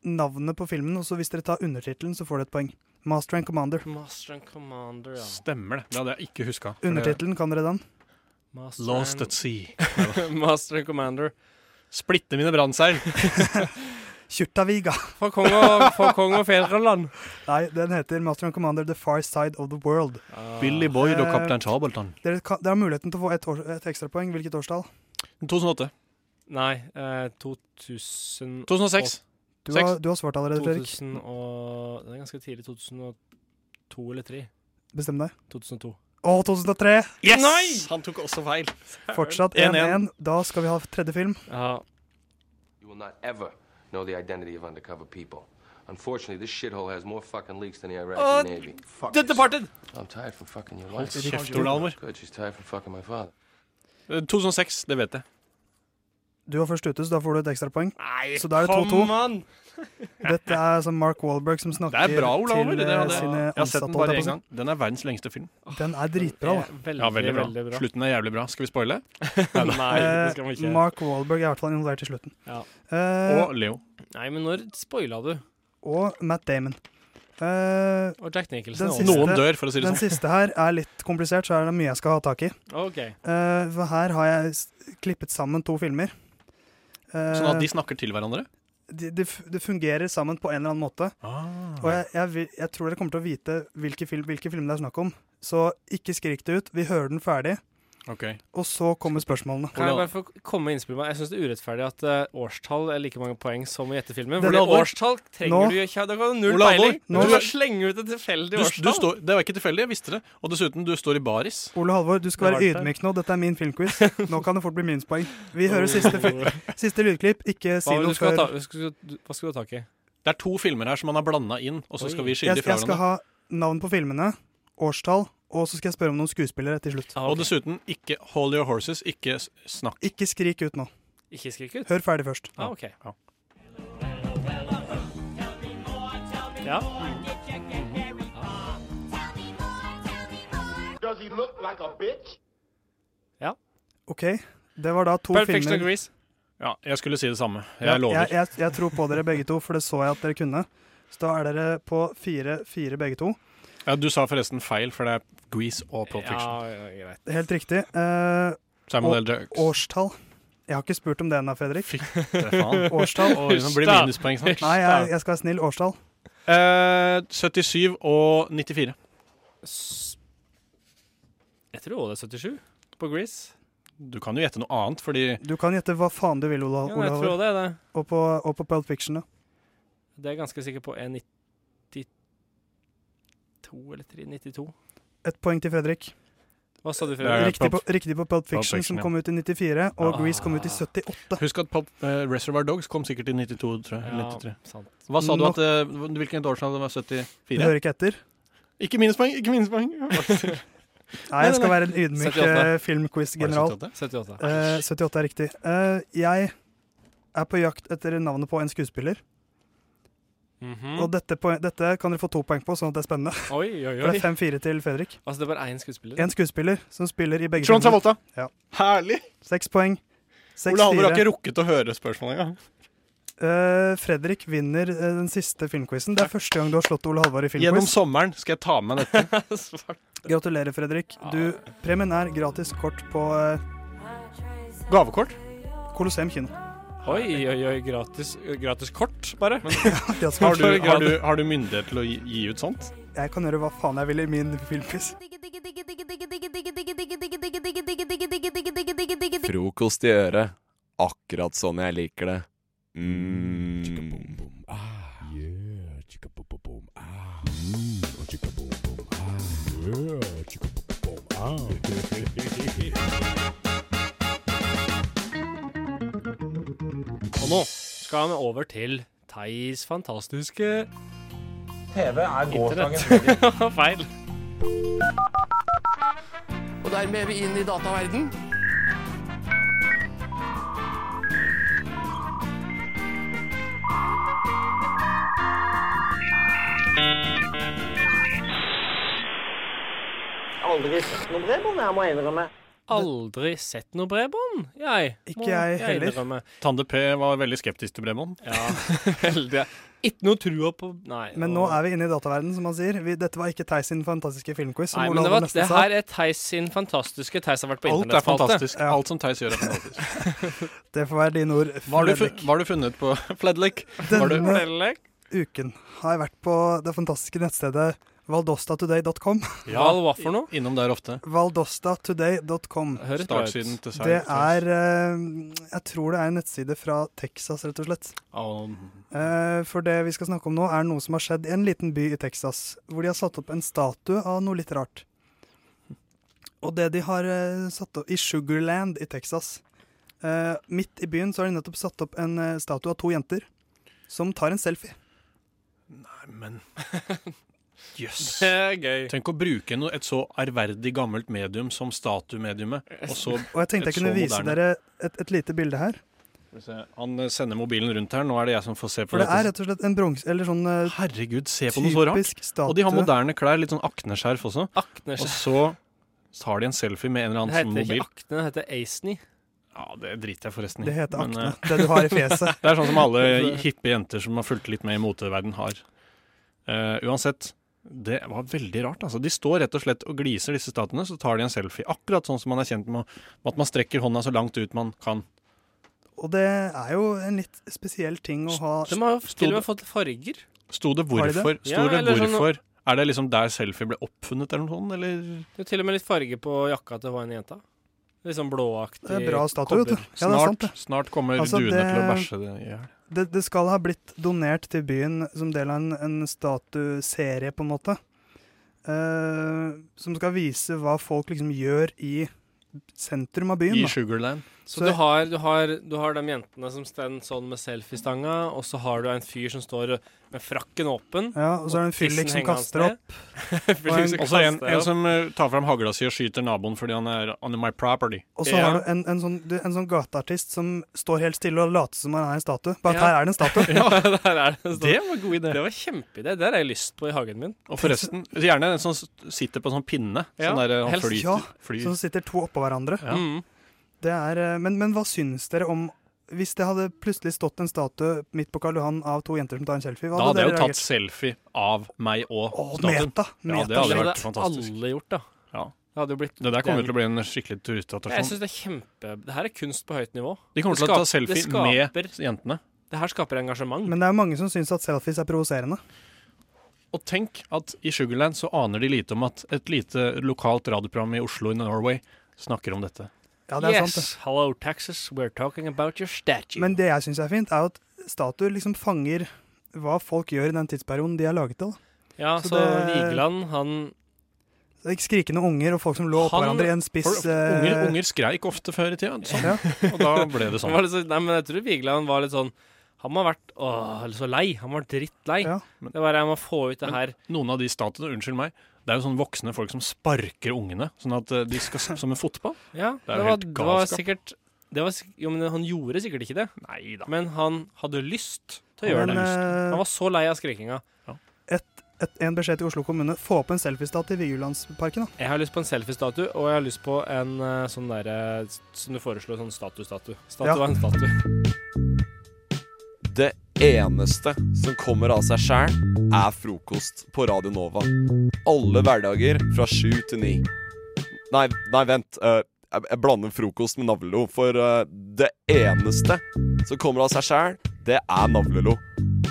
Speaker 3: navnet på filmen, og så hvis dere tar undertittelen, så får dere et poeng. Master and Commander.
Speaker 2: Master and Commander, ja.
Speaker 4: Stemmer det. Det hadde jeg ikke huska.
Speaker 3: Undertittelen, kan dere den?
Speaker 2: Master
Speaker 4: Lost
Speaker 2: and,
Speaker 4: at sea.
Speaker 2: Master and Commander.
Speaker 4: Splitte mine brannseil.
Speaker 3: Kjurtaviga.
Speaker 2: For kong og, for kong og fedreland.
Speaker 3: Nei, den heter Master and Commander The Far Side of the World.
Speaker 2: Ah.
Speaker 4: Billy Boyd og Kaptein Sabeltann.
Speaker 3: Dere, kan, dere har muligheten til å få et, år, et ekstrapoeng. Hvilket årstall?
Speaker 4: 2008.
Speaker 2: Nei, eh, 2000
Speaker 4: 2006.
Speaker 3: Du
Speaker 4: Seks.
Speaker 3: har, du har svart allerede, Fredrik.
Speaker 2: 2000 og Det er ganske tidlig. 2002 eller 3
Speaker 3: Bestem deg.
Speaker 2: 2002.
Speaker 3: Å, 2003!
Speaker 4: Yes! Han tok også feil.
Speaker 3: Fortsatt
Speaker 4: 1-1.
Speaker 3: 1-1. Da skal vi ha tredje film.
Speaker 2: Ja.
Speaker 10: You will not ever know the identity of undercover people. Unfortunately, this shithole has more fucking leaks than the Iraqi Navy. Fuck.
Speaker 2: The Departed!
Speaker 10: I'm tired for fucking your wife.
Speaker 4: Kjeft, Ole Almer.
Speaker 10: Good, she's tired for fucking my father.
Speaker 4: Eh, 2006, det vet jeg.
Speaker 3: Du var først ute, så da får du et ekstrapoeng.
Speaker 2: Nei,
Speaker 3: Så da er det
Speaker 2: kom
Speaker 3: 2-2.
Speaker 2: an!
Speaker 3: Dette er altså Mark Wahlberg som
Speaker 4: Det
Speaker 3: snakker
Speaker 4: er bra, Ole Almer.
Speaker 3: til
Speaker 4: Det
Speaker 3: eh,
Speaker 4: hadde jeg.
Speaker 3: sine
Speaker 4: jeg har sett
Speaker 3: ansatte.
Speaker 4: den
Speaker 3: holdt
Speaker 4: bare
Speaker 3: jeg
Speaker 4: én
Speaker 3: på å
Speaker 4: gang. Den er verdens lengste film.
Speaker 3: si. Den er dritbra, da.
Speaker 2: Ja, Veldig,
Speaker 4: Ja, veldig bra.
Speaker 2: veldig bra.
Speaker 4: Slutten er jævlig bra. Skal vi spoile?
Speaker 2: Nei, det skal vi
Speaker 3: Eh,
Speaker 2: ikke.
Speaker 3: Mark Wahlberg er i hvert fall involvert i slutten.
Speaker 2: Ja.
Speaker 3: Eh,
Speaker 4: Og Leo.
Speaker 2: Nei, men når spoila du?
Speaker 3: og Matt Damon. Eh,
Speaker 2: Og Jack
Speaker 3: Den
Speaker 2: Nicholson også.
Speaker 3: siste-
Speaker 4: Noen dør, for å si det
Speaker 3: den
Speaker 4: sånn.
Speaker 3: siste her er litt komplisert, så er det mye jeg skal ha tak i.
Speaker 2: OK.
Speaker 3: Eh, for her har jeg s- klippet sammen to filmer. Eh,
Speaker 4: Sånn at de snakker til hverandre.
Speaker 3: de, de, f- de fungerer Ah, sammen på en eller annen måte. Og jeg, jeg, vil- jeg tror dere kommer til å vite hvilke film, hvilke film det er snakk om, Så ikke skrik det ut. Vi hører den ferdig,
Speaker 4: Ok.
Speaker 3: og så kommer spørsmålene.
Speaker 2: Kan jeg bare få komme med innspill? med- Jeg syns det er urettferdig at eh, årstall er like mange poeng som i gjettefilmen.
Speaker 3: Denne
Speaker 2: Fordi
Speaker 3: år-
Speaker 2: årstall trenger
Speaker 3: Nå-
Speaker 2: du jo ikke. Da kan du null
Speaker 4: Ole Halvor,
Speaker 2: peiling.
Speaker 4: nå-
Speaker 2: Du bare slenger ut et tilfeldig
Speaker 4: Du, du
Speaker 2: årstall.
Speaker 4: står, det var ikke tilfeldig, jeg visste det. Og dessuten, du står i baris.
Speaker 3: Ole Halvor, du skal
Speaker 4: Det
Speaker 3: være
Speaker 4: var det.
Speaker 3: ydmyk nå. Dette er min filmquiz. Nå kan det fort bli minuspoeng. Vi hører siste, fi- siste lydklipp. Ikke si
Speaker 2: Hva var det
Speaker 3: noe
Speaker 2: du skulle
Speaker 3: før
Speaker 2: ha ta- skulle- du- hva skulle du ha tak i?
Speaker 4: Det er to filmer her som han har blanda inn, og så skal vi skille
Speaker 3: jeg,
Speaker 4: de fra
Speaker 3: jeg skal ha
Speaker 4: hverandre.
Speaker 3: navn på filmene, årstall, og så skal jeg spørre om noen skuespillere til slutt.
Speaker 4: Og dessuten, ikke hold your horses, ikke s- snakk.
Speaker 3: Ikke skrik ut nå.
Speaker 2: Ikke skrik ut?
Speaker 3: Hør ferdig først.
Speaker 2: Ah, ok.
Speaker 4: Ja.
Speaker 2: Ja.
Speaker 11: Does he look like a bitch?
Speaker 3: OK, det var da to
Speaker 2: Perfection
Speaker 3: filmer.
Speaker 2: agrees.
Speaker 4: Ja, jeg skulle si det samme. Jeg
Speaker 3: Ja,
Speaker 4: lover.
Speaker 3: Jeg, jeg, jeg tror på dere begge to, for det så jeg at dere kunne. Så da er dere på fire-fire begge to.
Speaker 4: Ja, du sa forresten feil, for det er Grease og Pulp Fiction.
Speaker 2: Ja, ja, greit.
Speaker 3: Helt riktig. Eh,
Speaker 4: Samuel
Speaker 3: og-
Speaker 4: L. Jackson.
Speaker 3: Årstall. Jeg har ikke spurt om det ennå, Fredrik.
Speaker 4: Det er faen.
Speaker 3: Årstall.
Speaker 4: Oi, nå blir det minuspoeng snart.
Speaker 3: Nei, jeg, jeg skal være snill. Årstall.
Speaker 4: Eh, 77 og 94.
Speaker 2: S- Jeg tror også det er 77 på Grease.
Speaker 4: Du kan jo gjette noe annet, fordi
Speaker 3: Du kan gjette hva faen du vil, Ola.
Speaker 2: Ja,
Speaker 3: Ola
Speaker 2: jeg tror det er det.
Speaker 3: Og, på, og på Pulp Fiction, da.
Speaker 2: Det er jeg ganske sikker på. Er 92 eller 3? 92?
Speaker 3: Et poeng til Fredrik.
Speaker 2: Hva sa du,
Speaker 4: Det er
Speaker 2: Fredrik?
Speaker 3: Riktig på,
Speaker 4: Pulp-
Speaker 3: riktig på Pulp Fiction,
Speaker 4: Fiction,
Speaker 3: som
Speaker 4: ja.
Speaker 3: kom ut i 94, og
Speaker 2: Ah.
Speaker 3: Grease kom ut i 78.
Speaker 4: Husk at Pop, eh, Reservoir Dogs kom sikkert i 92, tror jeg. eller 93.
Speaker 2: sant.
Speaker 4: Hva sa du
Speaker 3: Nok-
Speaker 4: at eh, Hvilket årstall det var?
Speaker 3: Du
Speaker 4: 74?
Speaker 3: hører ikke etter?
Speaker 4: Ikke minuspoeng! Ikke minuspoeng!
Speaker 3: Nei, jeg skal være en ydmyk
Speaker 2: 78.
Speaker 3: eh, filmquiz-general.
Speaker 2: 78.
Speaker 3: Eh, 78 er riktig. Eh, jeg er på jakt etter navnet på en skuespiller. Og dette, poen- dette kan dere få to poeng på, sånn at det er spennende.
Speaker 2: Mhm. Mm. Oi, oi,
Speaker 3: For
Speaker 2: oi.
Speaker 3: det er 5-4 til Fredrik.
Speaker 2: Altså, det er bare én skuespiller.
Speaker 3: En skuespiller som spiller i begge
Speaker 4: Sean
Speaker 3: filmer.
Speaker 4: Travolta!
Speaker 3: Ja.
Speaker 4: Herlig!
Speaker 3: Seks poeng.
Speaker 4: Ole Halvor har
Speaker 3: 6-4.
Speaker 4: ikke rukket å høre spørsmålet engang.
Speaker 3: Eh, Fredrik vinner eh, den siste filmquizen. Det er første gang du har slått Ole Halvor i
Speaker 4: Gjennom
Speaker 3: filmquiz.
Speaker 4: sommeren skal jeg ta med meg dette.
Speaker 3: Gratulerer, Fredrik. Du, premien er gratis kort på eh,
Speaker 4: Gavekort.
Speaker 3: Colosseum kino.
Speaker 2: Oi, oi, oi. Gratis, gratis kort, bare.
Speaker 3: Gratis
Speaker 4: Har
Speaker 3: kort.
Speaker 4: du, har, du, har du myndighet til å gi, gi ut sånt?
Speaker 3: Jeg kan gjøre hva faen jeg vil i min filmquiz.
Speaker 1: Frokost i øret, akkurat sånn jeg liker det. Mm.
Speaker 2: Og nå skal vi over til Theis fantastiske
Speaker 9: TV er gårsdagens
Speaker 2: Feil.
Speaker 10: Og dermed er vi inn i dataverden.
Speaker 11: Aldri sett noe bredbånd, jeg må innrømme.
Speaker 2: Aldri sett noe bredbånd, jeg.
Speaker 3: Ikke
Speaker 2: må
Speaker 3: jeg heller.
Speaker 2: innrømme.
Speaker 4: Tande P var veldig skeptisk til Bremon.
Speaker 2: Ja, veldig. Ikke noe trua på Nei.
Speaker 3: Men nå er vi inne i dataverdenen, som han sier. Vi, dette var ikke Theis sin fantastiske filmquiz. Som
Speaker 2: Nei,
Speaker 3: Ole
Speaker 2: men det,
Speaker 3: Halvor
Speaker 2: var,
Speaker 3: nesten
Speaker 2: det
Speaker 3: sa.
Speaker 2: her er Theis sin fantastiske Theis har vært på
Speaker 4: Alt er
Speaker 2: internettspalte.
Speaker 4: fantastisk. Alt som Theis gjør, er fantastisk.
Speaker 3: Det får være dine ord.
Speaker 4: Hva har du,
Speaker 3: Fredrik.
Speaker 4: fu- hva har du funnet på Fledlick? Var du,
Speaker 3: Denne uken har jeg vært på det fantastiske nettstedet valdostatoday.com.
Speaker 2: Ja. Val, hva for noe?
Speaker 4: Innom der ofte.
Speaker 3: Valdostatoday.com.
Speaker 2: Høres bra ut.
Speaker 4: Startsiden til
Speaker 3: Det er eh, Jeg tror det er en nettside fra Texas, rett og slett. Eh, For det vi skal snakke om nå, er noe som har skjedd i en liten by i Texas. Hvor de har satt opp en statue av noe litt rart. Og det de har eh, satt opp i Sugarland i Texas eh, Midt i byen så har de nettopp satt opp en eh, statue av to jenter som tar en selfie.
Speaker 4: Men jøss.
Speaker 2: Det er gøy.
Speaker 4: Tenk å bruke noe, et så ærverdig gammelt medium som statuemediumet. Og så
Speaker 3: Og jeg tenkte
Speaker 4: Et
Speaker 3: jeg kunne
Speaker 4: så
Speaker 3: vise
Speaker 4: moderne.
Speaker 3: dere et, et lite bilde her.
Speaker 4: Skal vi se, Han eh, sender mobilen rundt her. Nå er det jeg som får se på
Speaker 3: For det er
Speaker 4: dette.
Speaker 3: rett og slett en bronse Eller sånn eh,
Speaker 4: Herregud, se på noe så rart.
Speaker 3: typisk statue.
Speaker 4: Og de har moderne klær. Litt sånn akneskjerf også.
Speaker 2: Akne
Speaker 4: Og så tar de en selfie med en
Speaker 2: Det
Speaker 4: eller annen
Speaker 2: heter ikke
Speaker 4: mobil.
Speaker 2: akne, det heter Aceny.
Speaker 4: Ja, Det driter jeg forresten i.
Speaker 3: Det heter
Speaker 4: Men,
Speaker 3: akne.
Speaker 4: eh,
Speaker 3: Det du har i fjeset.
Speaker 4: Det er sånn som alle hippe jenter som har fulgt litt med i moteverden har. Eh, uansett, det var veldig rart. Altså. De står rett og slett og gliser disse statuene, så tar de en selfie. Akkurat sånn som man er kjent med med at man strekker hånda så langt ut man kan.
Speaker 3: Og det er jo en litt spesiell ting å ha
Speaker 2: De har jo
Speaker 4: Stod-
Speaker 2: til og med fått farger.
Speaker 4: Sto det
Speaker 3: Har de det?
Speaker 4: hvorfor? Sto
Speaker 2: Ja,
Speaker 4: det
Speaker 2: eller sånn-
Speaker 4: hvorfor Er det liksom der selfie ble oppfunnet, eller noe sånt? Eller?
Speaker 2: Det er til og med litt farge på jakka til hva en jenta. Litt sånn blåaktig.
Speaker 3: Det er eh, bra statue, vet du.
Speaker 2: kobber.
Speaker 3: Ja, det er sant, det. Altså,
Speaker 4: snart kommer duene til å bæsje det i hjel.
Speaker 3: Det, det skal ha blitt donert til byen som del av en, en statueserie, på en måte. eh, som skal vise hva folk liksom gjør i sentrum av byen.
Speaker 4: I
Speaker 3: da.
Speaker 4: Sugarland.
Speaker 2: Så, du, har, du, har, du har de jentene som står sånn med selfiestanga, og så har du en fyr som står med frakken åpen.
Speaker 3: Ja, og så er det en fyllik
Speaker 2: tissen
Speaker 3: som
Speaker 2: henger hans
Speaker 3: kaster
Speaker 2: ned.
Speaker 3: opp.
Speaker 2: Fyllik som
Speaker 4: Og så en,
Speaker 2: kaster
Speaker 4: en
Speaker 2: opp.
Speaker 4: som eh, tar fram hagla si og skyter naboen fordi han er on my property.
Speaker 3: Og så har du en, en sånn, du- en sånn gateartist som står helt stille og later som han er en statue. Bare at
Speaker 2: Ja.
Speaker 3: her er det en statue.
Speaker 2: ja, der er det, en
Speaker 4: Det var en god idé.
Speaker 2: Det var en kjempeidé. Det har jeg lyst på i hagen min.
Speaker 4: Og forresten, gjerne en som s- sitter på en sånn pinne.
Speaker 2: Ja,
Speaker 4: Sånn der han
Speaker 2: helst.
Speaker 4: flyter.
Speaker 3: Ja,
Speaker 4: flyr.
Speaker 3: som sitter to oppå hverandre.
Speaker 4: Ja. Mm.
Speaker 3: Det er, eh, men, men hva syns dere om hvis det hadde plutselig stått en statue midt på Karl Johan av to jenter som tar en selfie? Hva
Speaker 4: Da hadde jeg jo
Speaker 3: dere
Speaker 4: tatt
Speaker 3: reagert?
Speaker 4: selfie av meg og statuen.
Speaker 3: meta,
Speaker 4: Ja,
Speaker 3: meta.
Speaker 4: det hadde
Speaker 2: Det
Speaker 4: vært
Speaker 2: hadde
Speaker 4: fantastisk.
Speaker 2: alle gjort, da.
Speaker 4: Ja.
Speaker 2: Det hadde jo blitt
Speaker 4: Det der kommer
Speaker 2: den-
Speaker 4: til å bli en skikkelig
Speaker 2: Jeg
Speaker 4: turistattraksjon.
Speaker 2: syns det er kjempe Det her er kunst på høyt nivå.
Speaker 4: De kommer
Speaker 2: Det
Speaker 4: til å ta
Speaker 2: skap- det
Speaker 4: selfie
Speaker 2: skaper-
Speaker 4: med jentene.
Speaker 2: Det her skaper engasjement.
Speaker 3: Men det er jo mange som syns at selfies er provoserende.
Speaker 4: Og tenk at i Sugarland så aner de lite om at et lite lokalt radioprogram i Oslo i Norway snakker om dette.
Speaker 3: Ja, det er
Speaker 2: yes,
Speaker 3: sant,
Speaker 2: hello Texas, we're talking about your statue.
Speaker 3: Men det jeg syns er fint, er jo at statuer liksom fanger hva folk gjør i den tidsperioden de er laget til. da.
Speaker 2: ja,
Speaker 3: så
Speaker 2: så,
Speaker 3: det-
Speaker 2: Vigeland, han
Speaker 3: Så det er ikke Skrikende unger og folk som lå oppå
Speaker 2: Han-
Speaker 3: hverandre i en spiss
Speaker 4: Folk- unger,
Speaker 3: eh,
Speaker 4: unger skreik ofte før i tida, sånn. og da ble det
Speaker 2: Han
Speaker 4: sånn.
Speaker 2: var litt så, Nei, men jeg tror Vigeland var litt sånn Han må ha vært åh, så lei. Han var drittlei. det var jeg må få ut det her.
Speaker 4: Noen av de statuene, unnskyld meg, det er jo sånn voksne folk som sparker ungene, sånn at eh, de skal s- som en fotball.
Speaker 2: Ja,
Speaker 4: Det
Speaker 2: det,
Speaker 4: er jo
Speaker 2: var,
Speaker 4: helt
Speaker 2: det var
Speaker 4: galskap.
Speaker 2: sikkert det var, sik- jo, men Han gjorde sikkert ikke det, men han hadde lyst til å
Speaker 3: Ja,
Speaker 2: gjøre
Speaker 3: men,
Speaker 2: det.
Speaker 3: eh,
Speaker 2: Han var så lei av skrikinga.
Speaker 3: et, et, en beskjed til Oslo kommune. Få opp en selfiestatue i Vigelandsparken, da.
Speaker 2: Jeg har lyst på en selfiestatue, og jeg har lyst på en eh, sånn derre Som du foreslo, sånn statuestatue. Statue
Speaker 3: Ja.
Speaker 2: av en statue.
Speaker 1: Det eneste som kommer av seg sjæl, er frokost på Radio Nova. Alle hverdager fra sju til ni. Nei, nei, vent. eh, jeg, jeg blander frokost med navlelo. For eh, det eneste som kommer av seg sjæl, det er navlelo.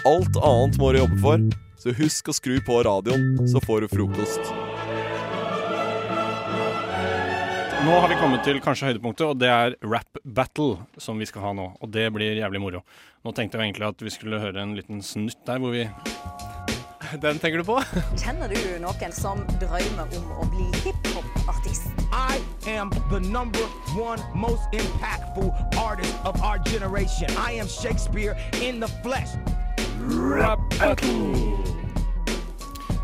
Speaker 1: Alt annet må du jobbe for. Så husk å skru på radioen, så får du frokost.
Speaker 4: Nå har vi kommet til kanskje høydepunktet, og det er rap battle som vi skal ha nå. Og det blir jævlig moro. Nå tenkte jeg egentlig at vi skulle høre en liten snutt der hvor vi
Speaker 2: Den tenker du på?
Speaker 12: Kjenner du noen som drømmer om å bli hiphop-artist?
Speaker 13: I am the number one most impactful artist of our generation. I am Shakespeare in the flesh.
Speaker 4: Rap battle.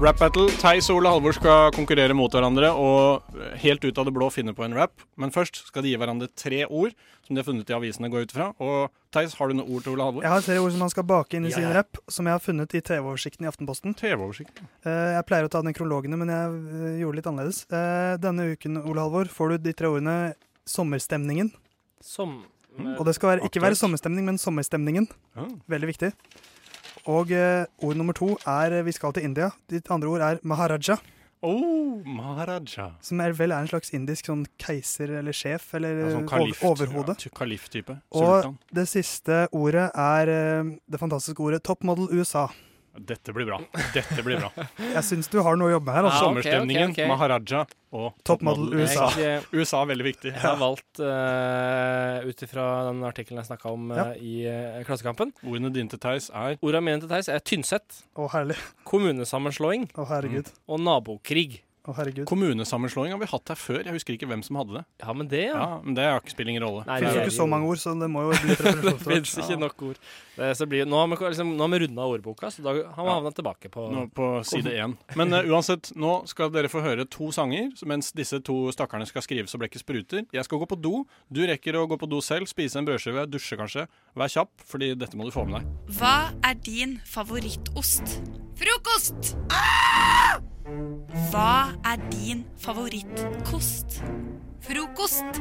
Speaker 4: Rap battle. Theis og Ole Halvor skal konkurrere mot hverandre og helt ut av det blå finne på en rap. Men først skal de gi hverandre tre ord som de har funnet i avisene, går jeg ut ifra. Og Theis, har du noen ord til Ole Halvor?
Speaker 3: Jeg har tre ord som man skal bake inn i
Speaker 4: Ja,
Speaker 3: sin
Speaker 4: ja.
Speaker 3: rapp, som jeg har funnet i TV-oversikten i Aftenposten.
Speaker 4: TV-oversikten?
Speaker 3: Eh, jeg pleier å ta nekrologene, men jeg eh, gjorde litt annerledes. Eh, denne uken, Ole Halvor, får du de tre ordene 'Sommerstemningen'.
Speaker 2: Som
Speaker 3: Og det skal være, ikke være
Speaker 2: Aktuelt.
Speaker 3: sommerstemning, men sommerstemningen.
Speaker 4: Mm. Ja.
Speaker 3: Veldig viktig. Og eh, ord nummer to er eh, 'Vi skal til India'. Ditt andre ord er 'Maharaja'.
Speaker 4: Oh, Maharaja.
Speaker 3: Som er vel er en slags indisk sånn keiser eller sjef eller
Speaker 4: Ja,
Speaker 3: ja,
Speaker 4: sånn kalift,
Speaker 3: overhode.
Speaker 4: ja, ty- kalift-type.
Speaker 3: Eh, Og
Speaker 4: Sultan.
Speaker 3: det siste ordet er eh, det fantastiske ordet 'Top Model USA'.
Speaker 4: Dette blir bra. Dette blir bra.
Speaker 3: Jeg syns du har noe å jobbe med her. Altså.
Speaker 4: Sommerstemningen, Maharaja og
Speaker 3: Top Model USA.
Speaker 2: Jeg- eh,
Speaker 4: USA er veldig viktig.
Speaker 2: Jeg har valgt uh, ut ifra den artikkelen jeg snakka om eh,
Speaker 4: Ja.
Speaker 2: i eh, Klassekampen.
Speaker 4: Ordene dine til Theis er
Speaker 2: Ordene mine til Theis er Tynset.
Speaker 3: Å, herlig.
Speaker 2: Kommunesammenslåing.
Speaker 3: Å,
Speaker 4: Mm.
Speaker 3: herregud.
Speaker 2: Og nabokrig.
Speaker 3: Å, herregud.
Speaker 4: Kommunesammenslåing har vi hatt her før. Jeg husker ikke hvem som hadde det.
Speaker 2: Ja, men det,
Speaker 4: ja. men det har ikke- spiller ingen rolle.
Speaker 3: Det fins jo ikke så mange ord, så det må jo bli et
Speaker 2: det
Speaker 3: referanseord.
Speaker 2: fins ikke nok ord. Det, så blir, nå har vi, liksom, nå har vi runda ordboka, så da har vi havna tilbake på
Speaker 4: Nå på side én. Men eh, uansett, nå skal dere få høre to sanger så mens disse to stakkarene skal skrive så blekket spruter. Jeg skal gå på do. Du rekker å gå på do selv, spise en brødskive, dusje kanskje. Vær kjapp, fordi dette må du få med deg.
Speaker 14: Hva er din favorittost? Frokost! Ah! Hva er din favorittkost? Frokost!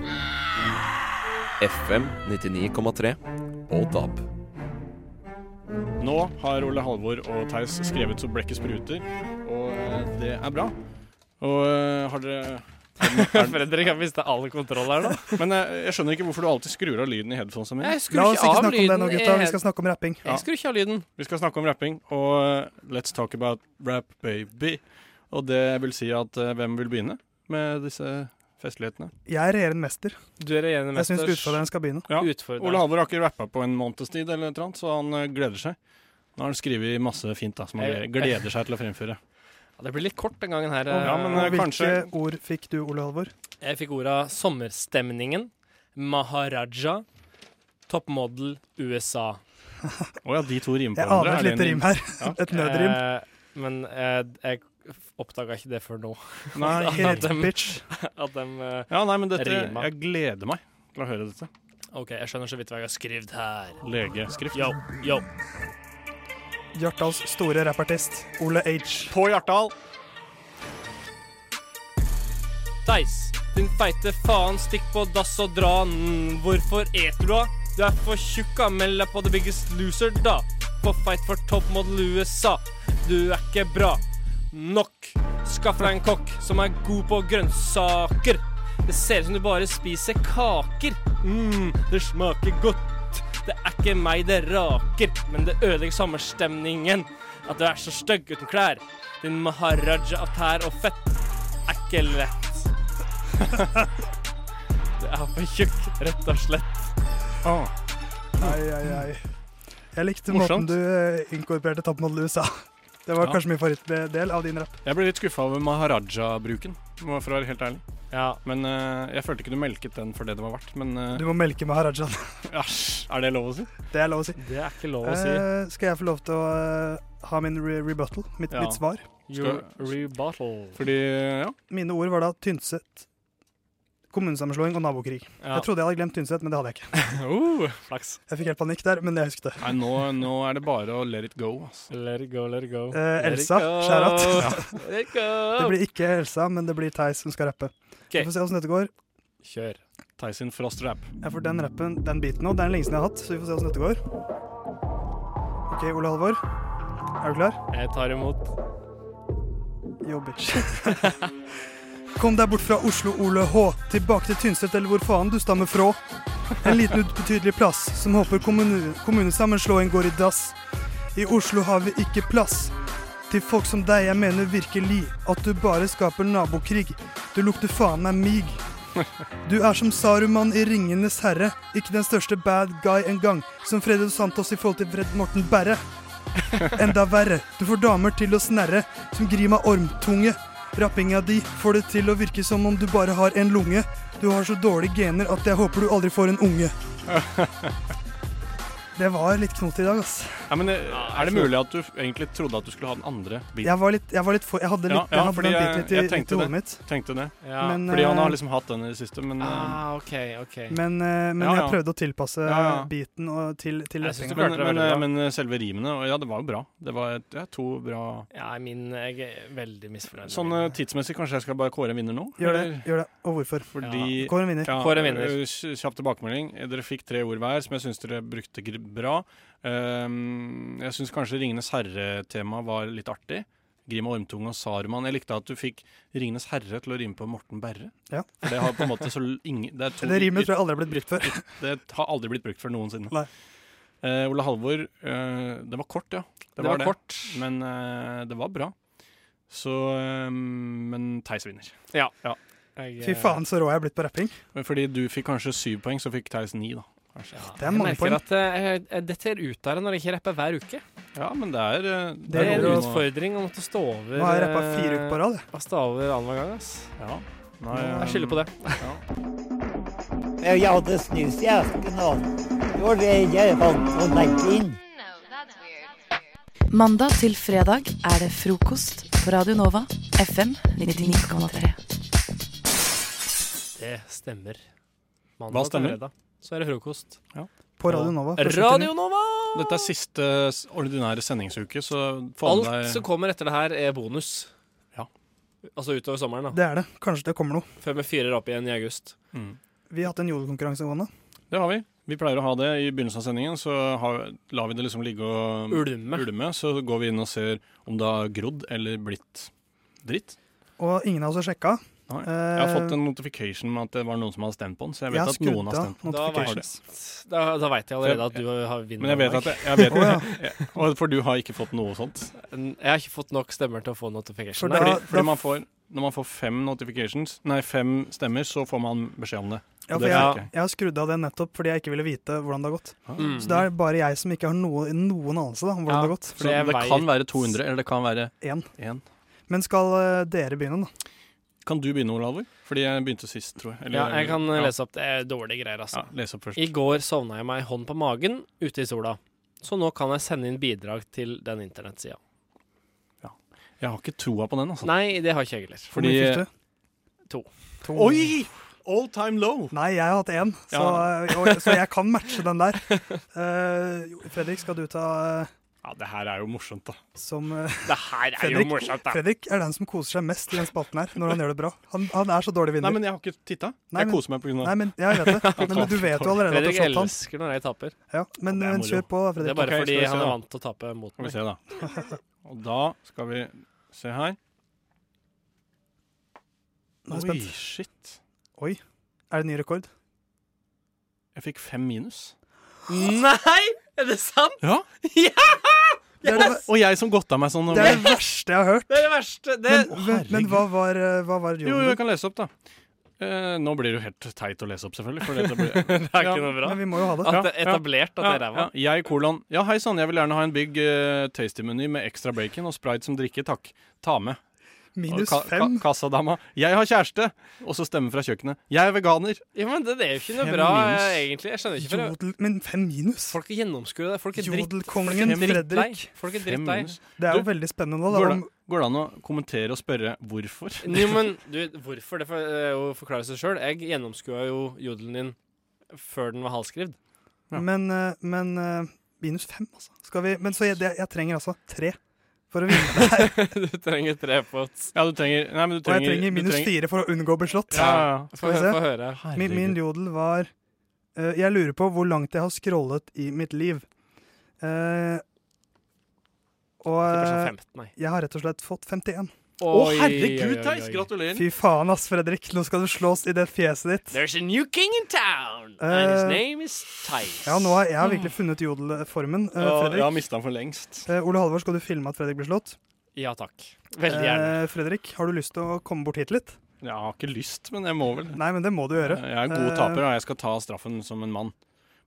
Speaker 1: FM 99,3 og DAB.
Speaker 4: Nå har Ole Halvor og Theis skrevet så blekket spruter, og det er bra. Og eh, har dere
Speaker 2: Fredrik har mista all kontroll her nå.
Speaker 4: Men eh, jeg, jeg skjønner ikke hvorfor du alltid skrur av lyden i headphonesa mine.
Speaker 2: Jeg skrur La oss ikke ikke av snakke om det nå, lyden i gutta. Vi head- skal snakke om
Speaker 3: rapping.
Speaker 2: Jeg skrur ikke av lyden.
Speaker 4: Vi skal snakke om rapping, og eh, let's talk about rap, baby. Og det vil si at eh, hvem vil begynne med disse festlighetene?
Speaker 3: Jeg er regjerende mester.
Speaker 2: Du er regjerende
Speaker 3: Jeg
Speaker 2: mester.
Speaker 3: syns utfordreren skal begynne.
Speaker 4: Ja. Ole Halvor har ikke rappa på en måneds tid, eller noe annet, så han eh, gleder seg. Nå har han skrevet masse fint da, som han
Speaker 2: Jeg-
Speaker 4: gleder seg til å fremføre.
Speaker 2: Ja, det blir litt kort den gangen her.
Speaker 3: Og,
Speaker 2: eh,
Speaker 3: og hvilke ord fikk du, Ole Halvor?
Speaker 2: Jeg fikk orda sommerstemningen, maharaja, toppmodell, USA.
Speaker 4: Å ja, de to rimer på
Speaker 3: Jeg aner et
Speaker 4: hverandre. Er det
Speaker 3: lite
Speaker 4: en-
Speaker 3: rim her. Et nødrim.
Speaker 2: Eh, men eh, jeg oppdaga ikke det før nå.
Speaker 4: Nei,
Speaker 2: at
Speaker 4: helt
Speaker 2: dem-
Speaker 4: bitch.
Speaker 2: At dem eh,
Speaker 4: Ja, nei, men dette,
Speaker 2: rima.
Speaker 4: jeg gleder meg til å høre dette.
Speaker 2: OK, jeg skjønner så vidt hva jeg har skrevet her.
Speaker 4: Legeskrift.
Speaker 2: Yo, yo.
Speaker 3: Hjartdals store rappartist, Ole H.
Speaker 4: På Hjartdal.
Speaker 2: Theis, din feite faen, stikk på dass og dra den. Hvorfor eter du da? Du er for tjukka, meld deg på The Biggest Loser, da. På Fight for Top Model USA. Du er ikke bra nok. Skaff deg en kokk som er god på grønnsaker. Det ser ut som du bare spiser kaker. mm, det smaker godt. Det er ikke meg det raker, men det ødelegger sommerstemningen. At du er så stygg uten klær. Din maharaja av tær og fett er ikke lett. Det er for tjukk, rett og slett.
Speaker 3: Ai, ai, ai. Jeg likte
Speaker 4: Morsomt.
Speaker 3: måten du eh, inkorporerte Top Model USA. Det var
Speaker 4: Ja.
Speaker 3: kanskje min favorittdel av din rapp.
Speaker 4: Jeg ble litt skuffa over maharaja-bruken, må- for å være helt ærlig. Men eh, jeg følte ikke du melket den for det det var verdt. Men eh,
Speaker 3: Du må melke maharajaen.
Speaker 4: æsj, er det lov å si?
Speaker 3: Det er lov å si.
Speaker 2: Det er ikke lov
Speaker 3: Eh, skal jeg få lov til å eh, ha min re rebuttal? Mitt,
Speaker 4: Ja.
Speaker 3: mitt svar?
Speaker 2: Your rebuttal.
Speaker 4: Fordi, ja.
Speaker 3: Mine ord var da Tynset, kommunesammenslåing og nabokrig.
Speaker 4: Ja.
Speaker 3: Jeg trodde jeg hadde glemt Tynset, men det hadde jeg ikke.
Speaker 4: Uh,
Speaker 3: Jeg fikk helt panikk der, men jeg husket det.
Speaker 4: Nei, nå, nå er det bare å let it go. altså. ass.
Speaker 2: Let it go, let it go.
Speaker 3: Eh, Elsa, skjærat. Det blir ikke Elsa, men det blir Theis som skal rappe. Vi får se åssen dette går.
Speaker 2: Kjør.
Speaker 4: Tyson Frostrap.
Speaker 3: Ja, for den rappen, den biten nå, det er den lengste jeg har hatt, så vi får se åssen dette går. OK, Ole Halvor. Er du klar?
Speaker 2: Jeg tar imot.
Speaker 3: Yo, bitch. Kom deg bort fra Oslo, Ole H. Tilbake til Tynset, eller hvor faen du stammer fra. En liten ubetydelig plass som håper kommune, kommunesammenslåing går i dass. I Oslo har vi ikke plass til folk som deg. Jeg mener virkelig at du bare skaper nabokrig. Du lukter faen meg mig. Du er som Saruman i Ringenes herre. Ikke den største bad guy engang. Som Fredo Santos i forhold til Fred Morten Berre. Enda verre, du får damer til å snerre, som grir meg ormtunge. Rappinga di får det til å virke som om du bare har en lunge. Du har så dårlige gener at jeg håper du aldri får en unge. Det var litt knot i dag, ass.
Speaker 4: Nei, men eh, Er det mulig at du f- egentlig trodde at du skulle ha den andre biten?
Speaker 3: Jeg var litt, jeg var litt for, jeg hadde, litt, jeg hadde
Speaker 4: fordi
Speaker 3: den biten litt i,
Speaker 4: jeg
Speaker 3: litt i
Speaker 4: tenkte
Speaker 3: hodet
Speaker 4: det.
Speaker 3: mitt.
Speaker 4: Tenkte det.
Speaker 3: Ja. Men,
Speaker 4: fordi han
Speaker 3: eh,
Speaker 4: har liksom hatt den i det siste, men eh,
Speaker 2: Ah, OK, OK.
Speaker 3: Men, eh, men
Speaker 4: Ja, ja.
Speaker 3: jeg prøvde å tilpasse
Speaker 4: Ja, ja.
Speaker 3: biten og, til, til
Speaker 2: Jeg synes du
Speaker 3: rappinga.
Speaker 2: klarte det
Speaker 4: men,
Speaker 2: veldig bra.
Speaker 4: men eh, selve rimene og Ja, det var jo bra. Det var et- ja, to bra
Speaker 2: Ja, min Jeg er veldig misfornøyd.
Speaker 4: Sånn eh, tidsmessig, kanskje jeg skal bare kåre en vinner nå?
Speaker 3: Gjør det,
Speaker 4: eller?
Speaker 3: gjør det. Og hvorfor?
Speaker 4: Fordi,
Speaker 3: Kår en vinner.
Speaker 4: Ja,
Speaker 2: Kår en vinner.
Speaker 4: eh, kj- Kjapp tilbakemelding. Eh, Dere fikk tre ord hver som jeg syns dere brukte gr- bra. Ehm, jeg syns kanskje 'Ringenes herre'-temaet var litt artig. Grim og Ormtung og Saruman. Jeg likte at du fikk 'Ringenes herre' til å rime på Morten Berre.
Speaker 3: Ja.
Speaker 4: For det har på en måte så l- ingen Det, er to
Speaker 3: Det rimet
Speaker 4: yt-
Speaker 3: tror jeg aldri har blitt brukt før.
Speaker 4: yt- Det har aldri blitt brukt før noensinne.
Speaker 3: Nei.
Speaker 4: Eh, Ole Halvor, eh, det var kort, ja.
Speaker 2: Det var kort.
Speaker 4: Men eh, det var bra. Så eh, Men Theis vinner.
Speaker 2: Ja. eh,
Speaker 4: Jeg,
Speaker 3: Fy faen, så rå jeg er blitt på rapping.
Speaker 4: men Fordi du fikk kanskje syv poeng, så fikk Theis ni, da. Kanskje.
Speaker 3: Det er mange
Speaker 2: jeg merker
Speaker 3: poeng.
Speaker 2: at eh, jeg, jeg detter ut av det når jeg ikke rapper hver uke.
Speaker 4: Ja, men det er eh,
Speaker 2: Det er en
Speaker 4: noe-
Speaker 2: utfordring å måtte stå over eh,
Speaker 3: Nå har jeg rappet fire uker på rad, jeg.
Speaker 2: Å stå over annenhver gang, ass.
Speaker 4: Ja. eh,
Speaker 2: jeg skylder på det.
Speaker 15: Jeg hadde snus i esken, og det var det jeg fant å legge inn.
Speaker 6: Mandag til fredag er det frokost på Radio Nova, FM 99,3.
Speaker 2: Det stemmer.
Speaker 4: Hva
Speaker 2: til
Speaker 4: stemmer?
Speaker 2: fredag, Så er det frokost.
Speaker 3: På Radio Nova. fra
Speaker 2: Radio
Speaker 3: 79.
Speaker 2: Nova!
Speaker 4: Dette er siste s- ordinære sendingsuke, så få med
Speaker 2: Alt som
Speaker 4: deg
Speaker 2: kommer etter det her, er bonus.
Speaker 4: Ja.
Speaker 2: Altså utover sommeren, da.
Speaker 3: Det er det. Kanskje det kommer noe.
Speaker 2: Før vi fyrer opp igjen i august.
Speaker 3: Vi har hatt en jodelkonkurranse gående.
Speaker 4: Mm. Det har vi. Vi pleier å ha det i begynnelsen av sendingen, så har, lar vi det liksom ligge og
Speaker 2: Ulme.
Speaker 4: Så går vi inn og ser om det har grodd eller blitt dritt.
Speaker 3: Og ingen av oss har sjekka.
Speaker 4: Nei. Jeg
Speaker 2: Eh.
Speaker 4: har fått en notification med at det var noen som hadde stemt på den. Så jeg vet
Speaker 3: Eh, Jeg har
Speaker 4: at noen
Speaker 3: skrudd
Speaker 4: har
Speaker 3: av
Speaker 4: stemt på
Speaker 2: Da
Speaker 4: den.
Speaker 2: vet, da, da vet jeg allerede at du har vinner.
Speaker 4: Men jeg vet
Speaker 2: i
Speaker 4: at
Speaker 2: dag.
Speaker 4: jeg, jeg vet, jeg, og For du har ikke fått noe sånt?
Speaker 2: Jeg har ikke fått nok stemmer til å få notification.
Speaker 4: Fordi,
Speaker 2: Nei,
Speaker 4: fordi,
Speaker 2: fordi-
Speaker 4: man får, når man får fem notifications, nei, fem stemmer, så får man beskjed om det.
Speaker 3: Ja,
Speaker 4: Og
Speaker 3: for
Speaker 4: det
Speaker 3: jeg,
Speaker 4: fikk jeg.
Speaker 3: jeg har skrudd av det nettopp fordi jeg ikke ville vite hvordan det har gått.
Speaker 4: Mm.
Speaker 3: Så det er bare jeg som ikke har noe, noen anelse da, om hvordan det har gått.
Speaker 4: Så det kan være 200, eller det kan være
Speaker 3: Én.
Speaker 4: én.
Speaker 3: Men skal eh, dere begynne, da?
Speaker 4: Kan du begynne, Olavur? Fordi jeg begynte sist, tror jeg.
Speaker 2: Ja, jeg kan
Speaker 4: ja.
Speaker 2: lese opp. Det er dårlige greier, altså.
Speaker 4: Ja, les opp først.
Speaker 2: I går sovna jeg meg hånd på magen ute i sola, så nå kan jeg sende inn bidrag til den internettsida.
Speaker 4: Jeg har ikke troa på den, altså.
Speaker 2: Nei, det har ikke jeg heller.
Speaker 4: Fordi
Speaker 2: To.
Speaker 4: Oi! All time low!
Speaker 3: Nei, jeg har hatt én, så,
Speaker 4: Ja.
Speaker 3: eh, og, så jeg kan matche den der. Eh, jo, Fredrik, skal du ta eh,
Speaker 4: Ja, det her er jo morsomt, da.
Speaker 3: som eh,
Speaker 2: Det her er jo
Speaker 3: Fredrik,
Speaker 2: morsomt, da.
Speaker 3: Fredrik er den som koser seg mest i den spalten her, når han gjør det bra. Han, han er så dårlig vinner.
Speaker 4: Nei, men jeg har ikke titta.
Speaker 3: Nei,
Speaker 4: Jeg
Speaker 3: men-
Speaker 4: koser meg på grunn av
Speaker 3: Nei, men jeg vet det. Men, men du vet jo allerede at du
Speaker 2: Fredrik
Speaker 3: har slått han.
Speaker 2: elsker når jeg taper.
Speaker 3: Ja, men,
Speaker 4: Det er
Speaker 3: men
Speaker 4: moro.
Speaker 3: kjør på, da, Fredrik.
Speaker 2: Det er bare
Speaker 4: Ok,
Speaker 2: fordi
Speaker 4: skal vi se
Speaker 2: han
Speaker 4: da.
Speaker 2: er vant til å tape mot
Speaker 4: Skal vi
Speaker 2: meg.
Speaker 4: se, da. Og da skal vi se her.
Speaker 3: Nå er jeg
Speaker 4: Oi,
Speaker 3: spent.
Speaker 4: shit.
Speaker 3: Oi. Er det ny rekord?
Speaker 4: Jeg fikk fem minus.
Speaker 2: Nei! Er det sant?
Speaker 4: Ja!
Speaker 2: Det er det-
Speaker 4: Og jeg som godta meg sånn.
Speaker 3: Det er det verste jeg har hørt.
Speaker 2: Det er det verste. Det,
Speaker 3: Men, men, men hva var, eh, hva var
Speaker 4: Jo,
Speaker 3: jobben
Speaker 4: jeg kan lese opp, da. Eh, nå blir det jo helt teit å lese opp, selvfølgelig. For dette blir...
Speaker 2: Det er ikke noe bra. Ah,
Speaker 3: Men vi må jo ha det.
Speaker 2: At det er etablert at
Speaker 4: ja,
Speaker 2: det er ræva.
Speaker 4: Ja, jeg, kolon. Ja, hei sann, jeg vil gjerne ha en big eh, tasty-meny med ekstra bacon og sprite som drikke, takk. Ta med.
Speaker 3: Minus
Speaker 4: Og ka
Speaker 3: fem.
Speaker 4: Ka kassadama. Jeg har kjæreste! Og så stemme fra kjøkkenet. Jeg er veganer.
Speaker 2: Ja, men det, det er jo ikke noe
Speaker 4: Fem
Speaker 2: bra,
Speaker 4: minus.
Speaker 2: eh, egentlig. Jeg skjønner ikke for
Speaker 3: Jodel, men fem minus?
Speaker 2: Folk gjennomskuer det. Folk er dritt.
Speaker 3: Jodelkongen
Speaker 2: folk er drittlei.
Speaker 3: Fredrik.
Speaker 2: Folk er
Speaker 4: Fem
Speaker 2: drittlei.
Speaker 4: minus.
Speaker 3: Det er jo
Speaker 4: Du,
Speaker 3: veldig spennende. da,
Speaker 4: Går
Speaker 3: da.
Speaker 4: det, går det an å kommentere og spørre hvorfor?
Speaker 2: Jo, men du, hvorfor? Det for- er jo å forklare seg sjøl. Jeg gjennomskua jo jodelen din før den var halvskrevet.
Speaker 3: Om, men eh, men eh, minus fem, altså. Skal vi, men så jeg, det, jeg trenger altså tre for å vinne det her.
Speaker 2: Du trenger tre på oss.
Speaker 4: Ja, du trenger Nei, men
Speaker 3: Og
Speaker 4: du
Speaker 3: jeg
Speaker 4: trenger
Speaker 3: trenger
Speaker 4: du
Speaker 3: minus fire for å unngå å bli slått.
Speaker 4: Ja, ja.
Speaker 3: Skal vi
Speaker 2: Få hø- få høre.
Speaker 3: se. Min, min jodel var eh, Jeg lurer på hvor langt jeg har scrollet i mitt liv. Eh, og
Speaker 2: Tipper
Speaker 3: eh,
Speaker 2: sånn 15, nei.
Speaker 3: jeg har rett og slett fått 51.
Speaker 2: Å, Oi, herregud, oi, oi, Theis, oi.
Speaker 4: gratulerer.
Speaker 3: Fy faen, ass, Fredrik. Nå skal du slås i det fjeset ditt.
Speaker 2: There's a new king in town, and his
Speaker 3: Eh,
Speaker 2: name is Theis.
Speaker 3: Ja, nå har jeg har virkelig funnet jodelformen. eh,
Speaker 4: Ja,
Speaker 3: Fredrik.
Speaker 4: jeg har mista den for lengst.
Speaker 3: Eh, Ole Halvor, skal du filme at Fredrik blir slått?
Speaker 2: Ja takk. Veldig gjerne.
Speaker 3: Eh, Fredrik, har du lyst til å komme bort hit litt?
Speaker 4: Jeg har ikke lyst, men jeg må vel.
Speaker 3: Nei, men det må du gjøre.
Speaker 4: Jeg er en god
Speaker 3: Eh,
Speaker 4: taper, og jeg skal ta straffen som en mann.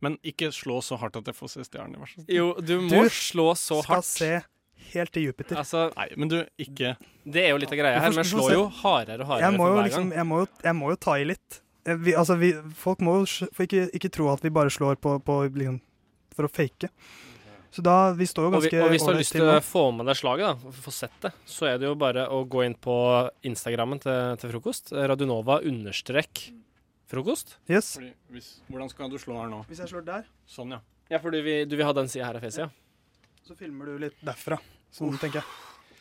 Speaker 4: Men ikke slå så hardt at jeg får se stjernen. Vær så snill.
Speaker 2: Jo, du må slå så hardt.
Speaker 3: Skal se helt til Jupiter.
Speaker 2: Altså,
Speaker 4: Nei, men du, ikke
Speaker 2: det er jo litt av greia her,
Speaker 3: Hvorfor-
Speaker 2: men jeg slår jo hardere og hardere
Speaker 3: jeg må
Speaker 2: for
Speaker 3: jo
Speaker 2: hver
Speaker 3: liksom,
Speaker 2: gang.
Speaker 3: jeg må, jo, jeg må jo ta i litt. Eh, Vi, altså, vi, folk må jo skj- for ikke, ikke tro at vi bare slår på, på liksom, for å fake. Så da, vi står jo
Speaker 2: Og, vi,
Speaker 3: ganske
Speaker 2: og hvis du har
Speaker 3: ålreit
Speaker 2: lyst
Speaker 3: til
Speaker 2: til å
Speaker 3: nå.
Speaker 2: få med deg slaget, da, få sett det, så er det jo bare å gå inn på Instagrammen til, til frokost. Radionova understrek frokost.
Speaker 3: Yes.
Speaker 4: Fordi, hvis, Hvordan skal du slå her nå?
Speaker 3: Hvis jeg slår der,
Speaker 4: Sånn, ja.
Speaker 2: Ja, for du vil, du vil ha den sida her av fjeset, ja?
Speaker 3: så filmer du litt derfra. Sånn, tenker jeg.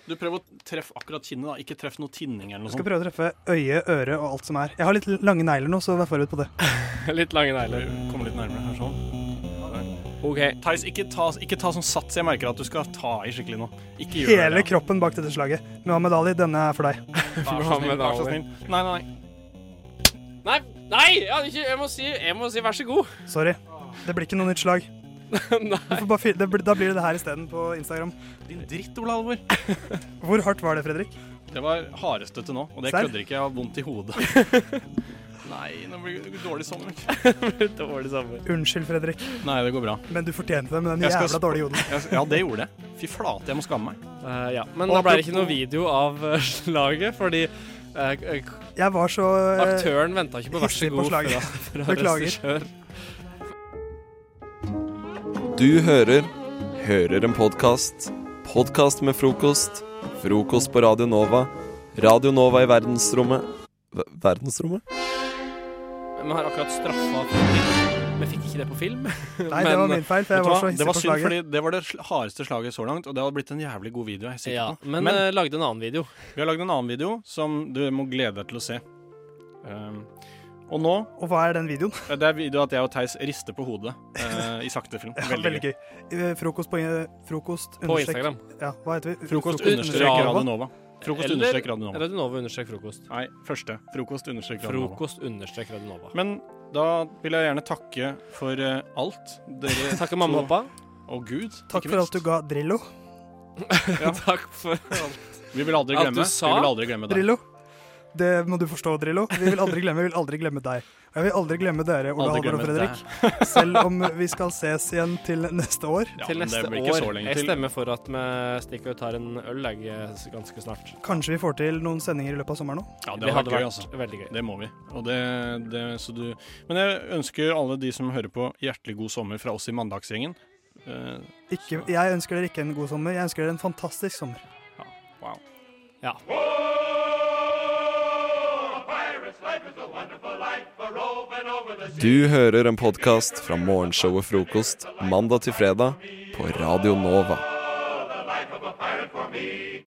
Speaker 4: Du prøver å treffe akkurat kinnet, da. Ikke treff noe tinning eller noe
Speaker 3: Jeg skal
Speaker 4: sånt.
Speaker 3: prøve å treffe øye, øre og alt som er. Jeg har litt lange negler nå, så vær forberedt på det.
Speaker 2: Litt lange negler.
Speaker 4: Kom litt nærmere her, sånn.
Speaker 2: OK.
Speaker 4: Theis, ikke ta, ikke ta sånn sats. Jeg merker at du skal ta i skikkelig nå. Ikke gjør
Speaker 3: Hele
Speaker 4: det.
Speaker 3: kroppen bak dette slaget. Muhammed Ali, denne er for deg.
Speaker 4: Vær så snill. Vær så snill. Nei, nei, nei.
Speaker 2: Nei! nei jeg, hadde ikke, jeg, må si, jeg må si vær så god.
Speaker 3: Sorry. Det blir ikke noe nytt slag. Du får bare fi- det, blir- da blir det det her isteden på Instagram.
Speaker 4: Din dritt, Ole Alvor.
Speaker 3: Hvor hardt var det, Fredrik?
Speaker 4: Det var hardestøtte nå, og det
Speaker 3: Serr?
Speaker 4: kødder ikke. Jeg har vondt i hodet. nei, nå blir det dårlig sommer.
Speaker 2: dårlig sommer.
Speaker 3: Unnskyld, Fredrik,
Speaker 4: Nei, det går bra.
Speaker 3: men du fortjente det med den
Speaker 4: Jeg skal
Speaker 3: jævla
Speaker 4: sp-
Speaker 3: dårlige jodelen.
Speaker 4: Jeg- Ja, det gjorde jeg. Fy flate, jeg må skamme meg.
Speaker 2: Eh, ja. Men
Speaker 3: Og
Speaker 2: da ble det ikke
Speaker 3: apropos-
Speaker 2: noe video av eh, slaget, fordi eh, k- k-
Speaker 3: Jeg var så eh,
Speaker 2: aktøren venta ikke på vær så
Speaker 3: hissig på
Speaker 2: god
Speaker 3: slaget.
Speaker 2: fra, fra
Speaker 3: Beklager.
Speaker 2: regissør.
Speaker 1: Du hører Hører en podkast. Podkast med frokost. Frokost på Radio Nova. Radio Nova i verdensrommet Ver- Verdensrommet?
Speaker 2: Vi har akkurat straffa Fredrik. Vi fikk ikke det på film.
Speaker 3: Nei, det var min feil, for jeg
Speaker 4: Vet du
Speaker 3: var
Speaker 4: hva?
Speaker 3: så
Speaker 4: det
Speaker 3: hissig
Speaker 4: var
Speaker 3: på
Speaker 4: synd,
Speaker 3: slaget.
Speaker 4: fordi det var det sl- hardeste slaget så langt, og det hadde blitt en jævlig god video. Jeg er sikker
Speaker 2: Ja,
Speaker 4: på.
Speaker 2: men, eh, lagde en annen video.
Speaker 4: vi har lagd en annen video som du må glede deg til å se. Um, og nå
Speaker 3: Og hva er den videoen?
Speaker 4: eh, Det er video at jeg og Theis rister på hodet eh, i sakte film.
Speaker 3: Ja, veldig gøy. Eh, Frokost på eh, Frokost
Speaker 2: På
Speaker 3: understrek-
Speaker 2: Instagram.
Speaker 3: Ja, hva heter vi?
Speaker 4: Frokost
Speaker 2: Frokost
Speaker 4: understreker
Speaker 2: understreker
Speaker 4: Radio Nova. Frokost
Speaker 2: Eller
Speaker 4: understrek Radio Nova.
Speaker 2: Radionova understrek frokost.
Speaker 4: Nei, første. Frokost understrek Radio Nova.
Speaker 2: Frokost understrek Radionova.
Speaker 4: Men da vil jeg gjerne takke for eh, alt. Dere
Speaker 2: Takke mamma og
Speaker 4: to- Og Gud.
Speaker 3: Takk
Speaker 4: ikke
Speaker 3: for alt
Speaker 4: minst.
Speaker 3: du ga Drillo.
Speaker 4: Ja.
Speaker 2: Takk for alt.
Speaker 4: Vi vil aldri
Speaker 2: Alt
Speaker 4: glemme.
Speaker 2: du sa?
Speaker 4: Vi vil aldri glemme deg.
Speaker 3: Drillo. Det må du forstå, Drillo. Vi vil aldri glemme, vi vil aldri glemme deg. Og jeg vil aldri glemme dere, Ole
Speaker 4: Aldri
Speaker 3: Halvor og
Speaker 4: glemme
Speaker 3: Fredrik. Selv om vi skal ses igjen til neste år.
Speaker 4: Ja,
Speaker 2: til
Speaker 4: men det
Speaker 2: neste
Speaker 4: blir ikke så
Speaker 2: år.
Speaker 4: lenge
Speaker 2: Jeg
Speaker 4: til.
Speaker 2: stemmer for at vi stikker og tar en øl jeg, eh, ganske snart.
Speaker 3: Kanskje vi får til noen sendinger i løpet av sommeren òg.
Speaker 4: Ja, det,
Speaker 2: Det
Speaker 4: hadde
Speaker 2: hadde
Speaker 4: vært gøy,
Speaker 2: vært
Speaker 4: altså.
Speaker 2: veldig gøy.
Speaker 4: Det må vi. Og det, det, så du... Men jeg ønsker alle de som hører på, hjertelig god sommer fra oss i Mandagsgjengen. Eh,
Speaker 3: Ikke, jeg ønsker dere ikke en god sommer, jeg ønsker dere en fantastisk sommer.
Speaker 4: wow.
Speaker 2: Ja.
Speaker 1: Du hører en podkast fra morgenshowet Frokost mandag til fredag på Radio Nova.
Speaker 7: for me.